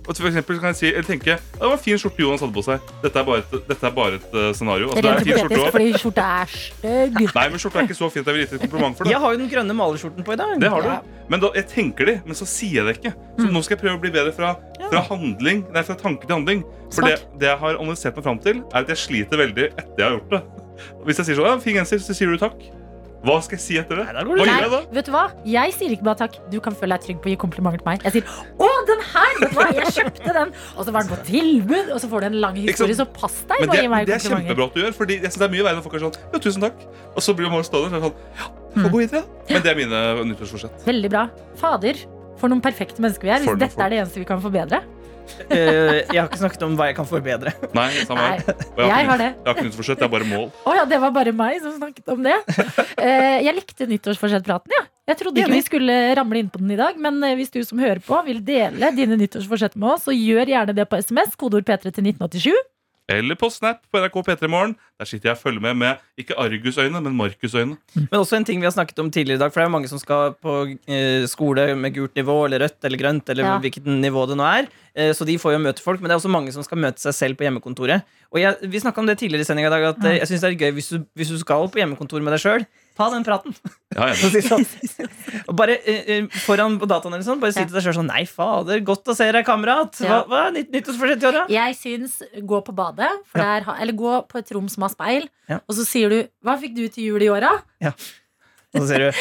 S5: Og for eksempel kan jeg si, eller tenke «Ja, det var en fin skjorte Jonas hadde på seg. Dette er bare et, dette er bare et eh, scenario. Altså, det er
S4: Rent
S5: en fin skjorte
S4: hypotetisk,
S5: også.
S4: fordi skjorta er stygg.
S5: Nei, men skjorta er ikke så fint. Jeg vil gitt et kompliment for det.
S6: Jeg har jo den grønne malerskjorten på i dag.
S5: Det har du. Men da, jeg tenker det, men så sier jeg det ikke.
S4: Mm.
S5: Så nå skal jeg prøve å bli bedre fra, fra handling Nei, fra tanke til handling. For det, det jeg har analysert meg fram til, er at jeg sliter veldig etter jeg har gjort det. Hvis jeg sier sånn, ja, fin genser, så sier du takk. Hva skal jeg si etter det?
S6: Nei, da går
S5: Hva
S6: det
S5: gjør jeg da?
S4: Nei, vet du hva? Jeg sier ikke bare takk. Du kan føle deg trygg på å gi komplimenter til meg. Jeg sier 'Å, den her! Vet du hva? Jeg kjøpte den!' Og så var den på tilbud, og så får du en lang
S5: Ikke sant?
S4: historie, så pass deg
S5: Men
S4: med å
S5: det,
S4: gi meg
S5: det er
S4: komplimenter.
S5: kjempebra at du gjør, Fordi jeg synes det er mye verre når folk er sånn Ja, tusen takk. Og så blir man stående og så er det sånn Ja,
S4: Mm.
S5: vi får gå videre. da». Men det er mine nyttårsforsett.
S4: Veldig bra. Fader, for noen perfekte mennesker vi er. Hvis
S5: For noen
S4: dette er det eneste vi kan forbedre.
S6: Eh, jeg har ikke snakket om hva jeg kan forbedre.
S5: Nei, samme
S4: Nei,
S5: her. Og
S4: jeg
S5: ikke
S4: har
S5: nytt-
S4: det.
S5: Jeg har ikke nyttårsforsett, det er bare mål.
S4: Å ja, det var bare meg som snakket om det. Eh, jeg likte nyttårsforsettpraten, ja. Jeg trodde ikke vi skulle ramle inn på den i dag, men eh, hvis du som hører på vil dele dine nyttårsforsett med oss, så gjør gjerne det på SMS, kodeord P3 til 1987.
S5: Eller på Snap på NRK P3 Morgen. Der sitter jeg og følger med med ikke Argus-øyne, men Markus-øyne.
S6: Men også en ting vi har snakket om tidligere i dag, for det er jo mange som skal på eh, skole med gult nivå eller rødt eller grønt eller
S4: Ja.
S6: hvilket nivå det nå er. Eh, så de får jo møte folk, men det er også mange som skal møte seg selv på hjemmekontoret. Og jeg, vi snakket om det tidligere i sendingen i dag, at eh, jeg synes det er gøy hvis du, hvis du skal på hjemmekontor med deg selv, ta den praten.
S5: Ja, jeg er
S6: Og si sånn. Og bare eh, eh, foran på dataen eller sånn, bare si
S4: Ja.
S6: til deg selv sånn, nei fader, godt å se deg, kamerat. Hva,
S4: Ja.
S6: hva er nytt, nyttårsforsett i år da?
S4: Jeg syns gå på badet, for der har- eller gå på et rom som har speil,
S6: Ja.
S4: og så sier du 'Hva fikk du til jul i år, da?'
S6: Og så sier du,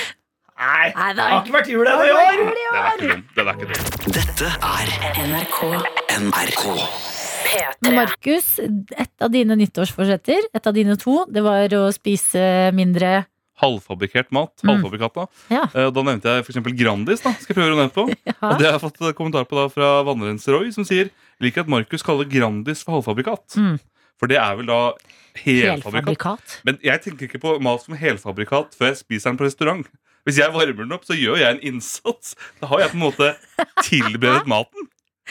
S6: nei, det
S4: Nei, det
S6: har
S4: er
S6: ikke vært jul ennå i år.
S5: Den er ikke dum. Den er ikke dum.
S3: Dette er NRK.
S4: Men Markus, et av dine nyttårsforsetter, et av dine to, det var å spise mindre
S5: Halvfabrikert mat. Halvfabrikata.
S4: Mm. Ja.
S5: Eh, Da nevnte jeg f.eks. Grandis. da, skal jeg prøve å nevne på. Og det har jeg fått eh, kommentar på da fra vannrenser Roy, som sier liker at Markus kaller Grandis for halvfabrikat.
S4: Mm.
S5: For det er vel da helfabrikat.
S4: helfabrikat.
S5: Men jeg tenker ikke på mat som helfabrikat før jeg spiser den på restaurant. Hvis jeg varmer den opp, så gjør jeg en innsats. Da har jeg på en måte tilberedt maten.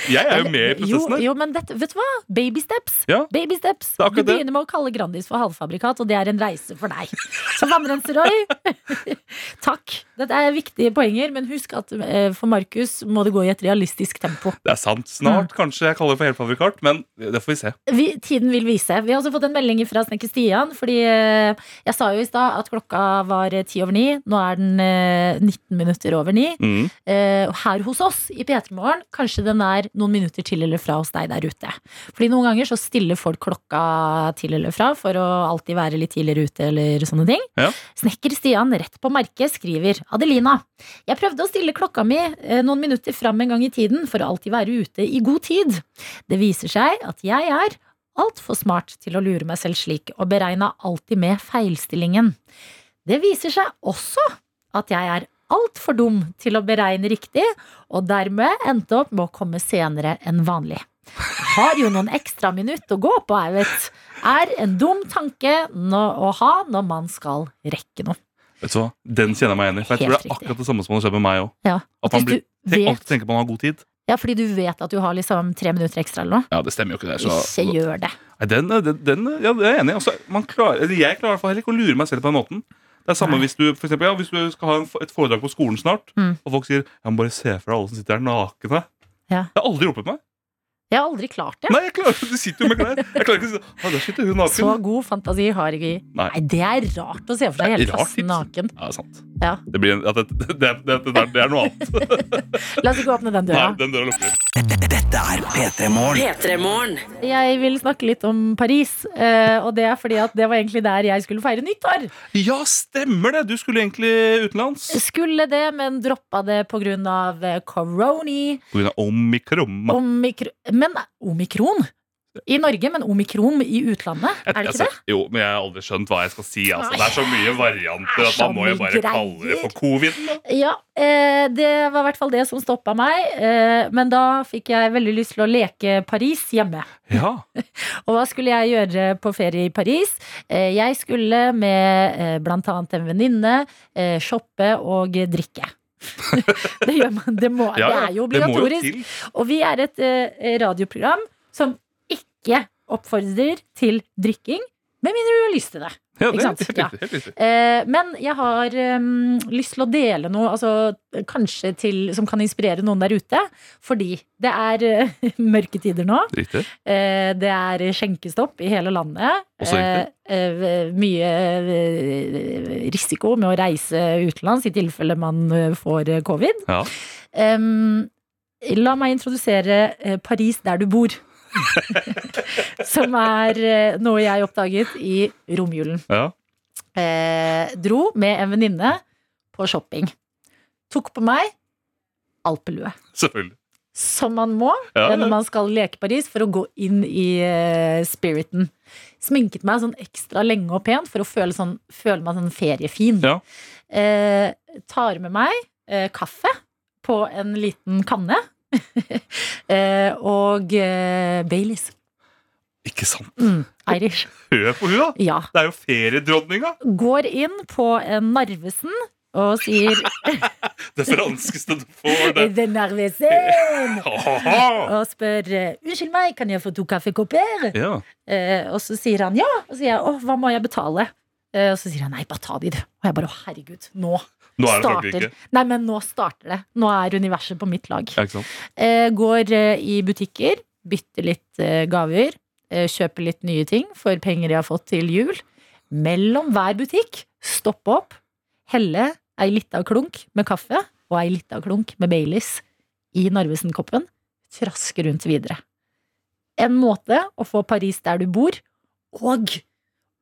S5: Jeg er jo med i prosessen
S4: jo,
S5: her.
S4: jo, men dette, vet du hva? Baby steps.
S5: Ja.
S4: Baby steps.
S5: Det er
S4: Du
S5: akkurat det.
S4: begynner med å kalle Grandis for halvfabrikat, og det er en reise for deg. Så vannrenser-Roy, takk. Dette er viktige poenger, men husk at eh, for Markus må det gå i et realistisk tempo.
S5: Det er sant. Snart
S4: Mm.
S5: kanskje jeg kaller det for helfabrikat, men det får vi se.
S4: vi, tiden vil vise. Vi har også fått en melding fra Snekker Stian. Fordi eh, jeg sa jo i stad at klokka var ti over ni. Nå er den eh, 19 minutter over ni.
S5: Mm.
S4: Eh, og her hos oss i P3 Morgen, kanskje den er noen minutter til eller fra hos deg der ute. Fordi noen ganger så stiller folk klokka til eller fra for å alltid være litt tidligere ute eller sånne ting.
S5: Ja.
S4: Snekker Stian rett på merket skriver Adelina. Jeg prøvde å stille klokka mi eh, noen minutter fram en gang i tiden for å alltid være ute i god tid. Det viser seg at jeg er altfor smart til å lure meg selv slik, og beregna alltid med feilstillingen. Det viser seg også at jeg er altfor dum til å beregne riktig, og dermed endte opp med å komme senere enn vanlig. Jeg Har jo noen ekstra minutt å gå på, jeg vet. Er en dum tanke nå- å ha når man skal rekke noe.
S5: Vet du hva? Den kjenner jeg meg igjen i. For jeg tror
S4: Helt
S5: det er
S4: riktig.
S5: akkurat det samme som hadde skjedd med meg òg.
S4: Ja,
S5: At man
S4: hvis
S5: blir,
S4: du
S5: tenk,
S4: vet-
S5: alltid tenker man har god tid.
S4: Ja, fordi du vet at du har liksom tre minutter ekstra eller noe.
S5: Ja, det stemmer jo ikke. det
S4: Ikke gjør det.
S5: Nei, den, den, den ja, det er jeg enig i. Altså, man klarer, eller jeg klarer i hvert fall heller ikke å lure meg selv på den måten. Det er samme hvis du, for eksempel, ja, hvis du skal ha en, f- et foredrag på skolen snart,
S4: Mm.
S5: og folk sier jeg må bare se for deg alle som sitter der nakne.
S4: Ja.
S5: Det har aldri hjulpet meg.
S4: Jeg har aldri klart det.
S5: Nei, jeg klarer, Du sitter jo med klær. Jeg klarer ikke å si «Å, der sitter hun naken.
S4: Så god fantasi har jeg ikke.
S5: Nei.
S4: Nei, det er rart å se for seg
S5: Det
S4: hele
S5: er rart tips.
S4: klassen naken.
S5: Ja, det er sant.
S4: Ja.
S5: Det, blir en, at det, det, det, det, der- det er noe annet.
S4: La oss ikke åpne den
S5: Nei,
S4: døra.
S5: den døra lukker.
S3: Dette er P3 Morgen.
S11: P3-morgen.
S4: Jeg vil snakke litt om Paris, eh, og det er fordi at det var egentlig der jeg skulle feire nyttår.
S5: Ja, stemmer det! Du skulle egentlig utenlands.
S4: Skulle det, men droppa det pga. eh, coroni.
S5: På grunn av omikron.
S4: Omikro men omikron? I Norge, men omikron i utlandet? Er det ikke det?
S5: Jo, men jeg har aldri skjønt hva jeg skal si. Altså. Det er så mye
S4: Det
S5: varianter
S4: er
S5: at man
S4: så
S5: må jo
S4: mye
S5: bare kalle det
S4: greier.
S5: for covid.
S4: Ja, eh, det var i hvert fall det som stoppa meg. Eh, men da fikk jeg veldig lyst til å leke Paris hjemme.
S5: Ja.
S4: Og hva skulle jeg gjøre på ferie i Paris? Eh, jeg skulle med eh, blant annet en venninne eh, shoppe og drikke. det gjør man. Det, må,
S5: Ja, ja,
S4: det er jo
S5: det må jo
S4: obligatorisk.
S5: til.
S4: Og vi er et eh, radioprogram som ikke oppfordrer til drikking. Med mindre du har lyst til det.
S5: Ja, det
S4: Ikke
S5: er
S4: sant?
S5: helt riktig.
S4: Ja.
S5: Helt riktig.
S4: Eh, men jeg har em, lyst til å dele noe altså, kanskje til, som kan inspirere noen der ute. Fordi det er eh, mørke tider nå.
S5: riktig.
S4: Eh, det er skjenkestopp i hele landet.
S5: Også egentlig.
S4: Eh, eh, mye eh, risiko med å reise utenlands i tilfelle man eh, får eh, covid.
S5: Ja.
S4: Em, la meg introdusere eh, Paris der du bor. som er eh, noe jeg oppdaget i romjulen
S5: Ja.
S4: eh, dro med en venninne på shopping. Tok på meg alpelue.
S5: Selvfølgelig.
S4: Som man må
S5: Ja,
S4: eh,
S5: ja.
S4: når man skal leke Paris for å gå inn i eh, spiriten. Sminket meg sånn ekstra lenge og pent for å føle, sånn, føle meg sånn feriefin.
S5: Ja.
S4: Eh, tar med meg eh, kaffe på en liten kanne. eh, og eh, Baileys.
S5: Ikke sant?
S4: Mm, Irish.
S5: Hør på hun da!
S4: Ja.
S5: Det er jo feriedronninga!
S4: Går inn på en Narvesen og sier
S5: Det franskeste du får. Det.
S4: Den Narvesen!
S5: Ha-ha-ha!
S4: Og spør eh, unnskyld meg, kan jeg få to kaffekopper?
S5: Ja.
S4: Eh, og så sier han ja. Og så sier jeg å, hva må jeg betale? Eh, og så sier han nei, bare ta de, du. Og jeg bare å, herregud, nå,
S5: Nå er det
S4: starter
S5: Frankrike.
S4: Nei, men nå starter det. Nå er universet på mitt lag.
S5: Ja, ikke sant?
S4: Eh, går eh, i butikker, bytter litt eh, gaver, eh, kjøper litt nye ting for penger jeg har fått til jul. Mellom hver butikk, stoppe opp, helle ei lita klunk med kaffe og ei lita klunk med Baileys i Narvesen-koppen, traske rundt videre. En måte å få Paris der du bor, og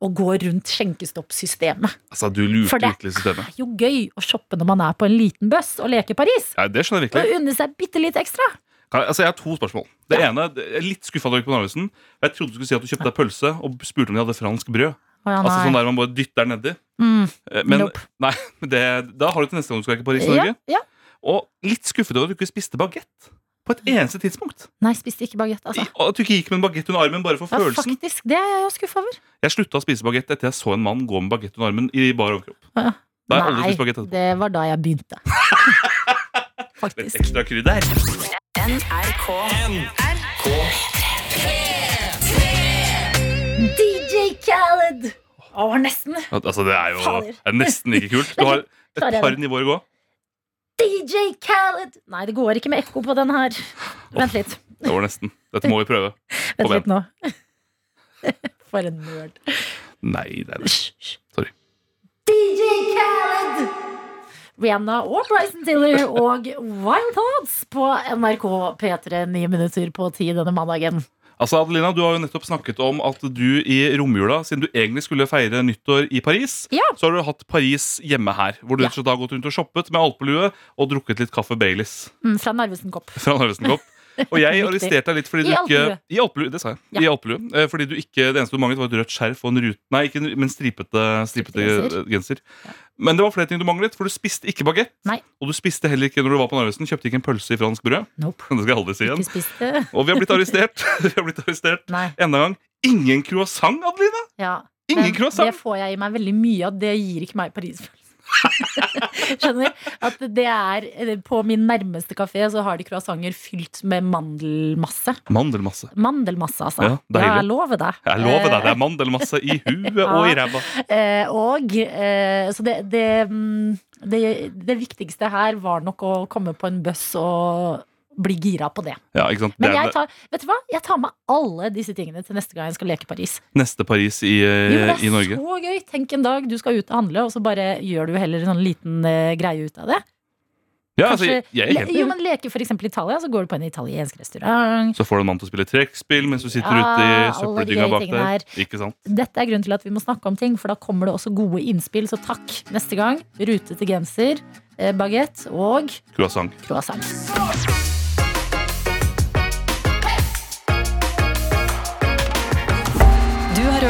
S4: å gå rundt skjenkestoppsystemet.
S5: Altså, du
S4: For
S5: lurte
S4: det-
S5: virkelig systemet.
S4: Det er jo gøy å shoppe når man er på en liten buss og leke Paris.
S5: Ja, det skjønner jeg virkelig.
S4: Og unne seg bitte litt ekstra.
S5: Kan jeg- Altså, Jeg har to spørsmål. Det ene, jeg er litt skuffa på Narvesen. Jeg trodde du skulle si at du kjøpte deg pølse og spurte om de hadde fransk brød.
S4: Å, ja,
S5: Altså
S4: Ah, nei.
S5: sånn der man bare dytter nedi.
S4: Mm,
S5: Eh, Men
S4: nope.
S5: nei, men det, da har du til neste gang du skal ikke Paris, Norge.
S4: Ja, ja.
S5: Og litt skuffet over at du ikke spiste bagett på et eneste tidspunkt.
S4: Nei, spiste ikke bagett, altså.
S5: Og At du ikke gikk med en bagett under armen bare for
S4: Ja,
S5: følelsen.
S4: faktisk. Det er jeg jo skuffa over.
S5: Jeg slutta å spise bagett etter jeg så en mann gå med bagett under armen i bar overkropp.
S4: Ja.
S5: Da har jeg aldri spist bagett etterpå.
S4: det var da jeg begynte.
S5: Litt
S4: Faktisk.
S5: ekstra krydder.
S4: DJ Khaled! Å, nesten.
S5: Al- Altså, det er jo
S4: Fader.
S5: det er nesten ikke kult. Du har
S4: Klarer
S5: et
S4: jeg
S5: par
S4: det?
S5: nivåer å gå.
S4: DJ Khaled! Nei, det går ikke med ekko på den her. Vent litt.
S5: Det var nesten. Dette må vi prøve.
S4: Vent
S5: Kom
S4: litt nå. For en nerd.
S5: Nei, det er det.
S4: Hysj, hysj.
S5: Sorry.
S4: DJ Khaled! Rihanna og Bryson Tiller og Wild Thoughts på NRK P3 ni minutter på ti denne mandagen.
S5: Altså, Adelina, Du har jo nettopp snakket om at du i romjula, siden du egentlig skulle feire nyttår i Paris,
S4: Ja.
S5: så har du hatt Paris hjemme her. Hvor du
S4: Ja.
S5: rett og slett har gått rundt og shoppet med alpelue og drukket litt kaffe Baileys
S4: Mm, fra Narvesen-kopp.
S5: fra Narvesen-kopp. Og jeg
S4: Riktig.
S5: arresterte deg litt fordi du
S4: I
S5: ikke
S4: alpelue.
S5: I alpelue, det sa jeg.
S4: Ja.
S5: I alpelue. Eh, Fordi du ikke, det eneste du manglet, var et rødt skjerf og en rute... Nei, ikke en, ru- men stripete, stripete eh,
S4: Stripete
S5: genser. Men det var flere ting du manglet, for du spiste ikke bagett.
S4: Nei.
S5: Og du spiste heller ikke når du var på Narvesen. Kjøpte ikke en pølse i fransk brød.
S4: Nope.
S5: Det skal jeg aldri si
S4: Ikke
S5: igjen.
S4: spiste.
S5: Og vi har blitt arrestert. vi har blitt arrestert
S4: Nei.
S5: Enda en gang. Ingen croissant, Adelina!
S4: Ja.
S5: Ingen
S4: Men
S5: croissant!
S4: Det får jeg i meg veldig mye av. Det gir ikke meg Paris-følelsen. Skjønner? At det er eh, På min nærmeste kafé så har de croissanter fylt med mandelmasse.
S5: Mandelmasse.
S4: Mandelmasse, altså.
S5: Ja, deilig.
S4: jeg lover det.
S5: Jeg lover deg, det er mandelmasse i huet og i
S4: Eh. Ja.
S5: ræva.
S4: Eh, og eh, Så det, det, mm, det Det viktigste her var nok å komme på en buss og bli gira på det.
S5: Ja, ikke sant? Det
S4: Men
S5: er
S4: jeg tar, vet du hva? jeg tar med alle disse tingene til neste gang jeg skal leke Paris.
S5: neste Paris i,
S4: Jo,
S5: eh,
S4: men det er
S5: i Norge.
S4: så gøy. Tenk en dag du skal ut og handle, og så bare gjør du heller en sånn liten eh, greie ut av det.
S5: Ja, altså, jeg
S4: Kanskje-
S5: jeg er
S4: Le-
S5: helt
S4: jo,
S5: enig.
S4: men Leke for eksempel Italia, så går du på en italiensk restaurant.
S5: Så får du en mann til å spille trekkspill mens du sitter
S4: Ja,
S5: ute i
S4: alle de
S5: søppeldynga
S4: gøye
S5: bak
S4: tingene
S5: der. Ikke sant?
S4: Dette er grunnen til at vi må snakke om ting, for da kommer det også gode innspill. Så takk neste gang. Rutete genser, eh, bagett og
S5: Croissant.
S4: croissant.
S1: Du har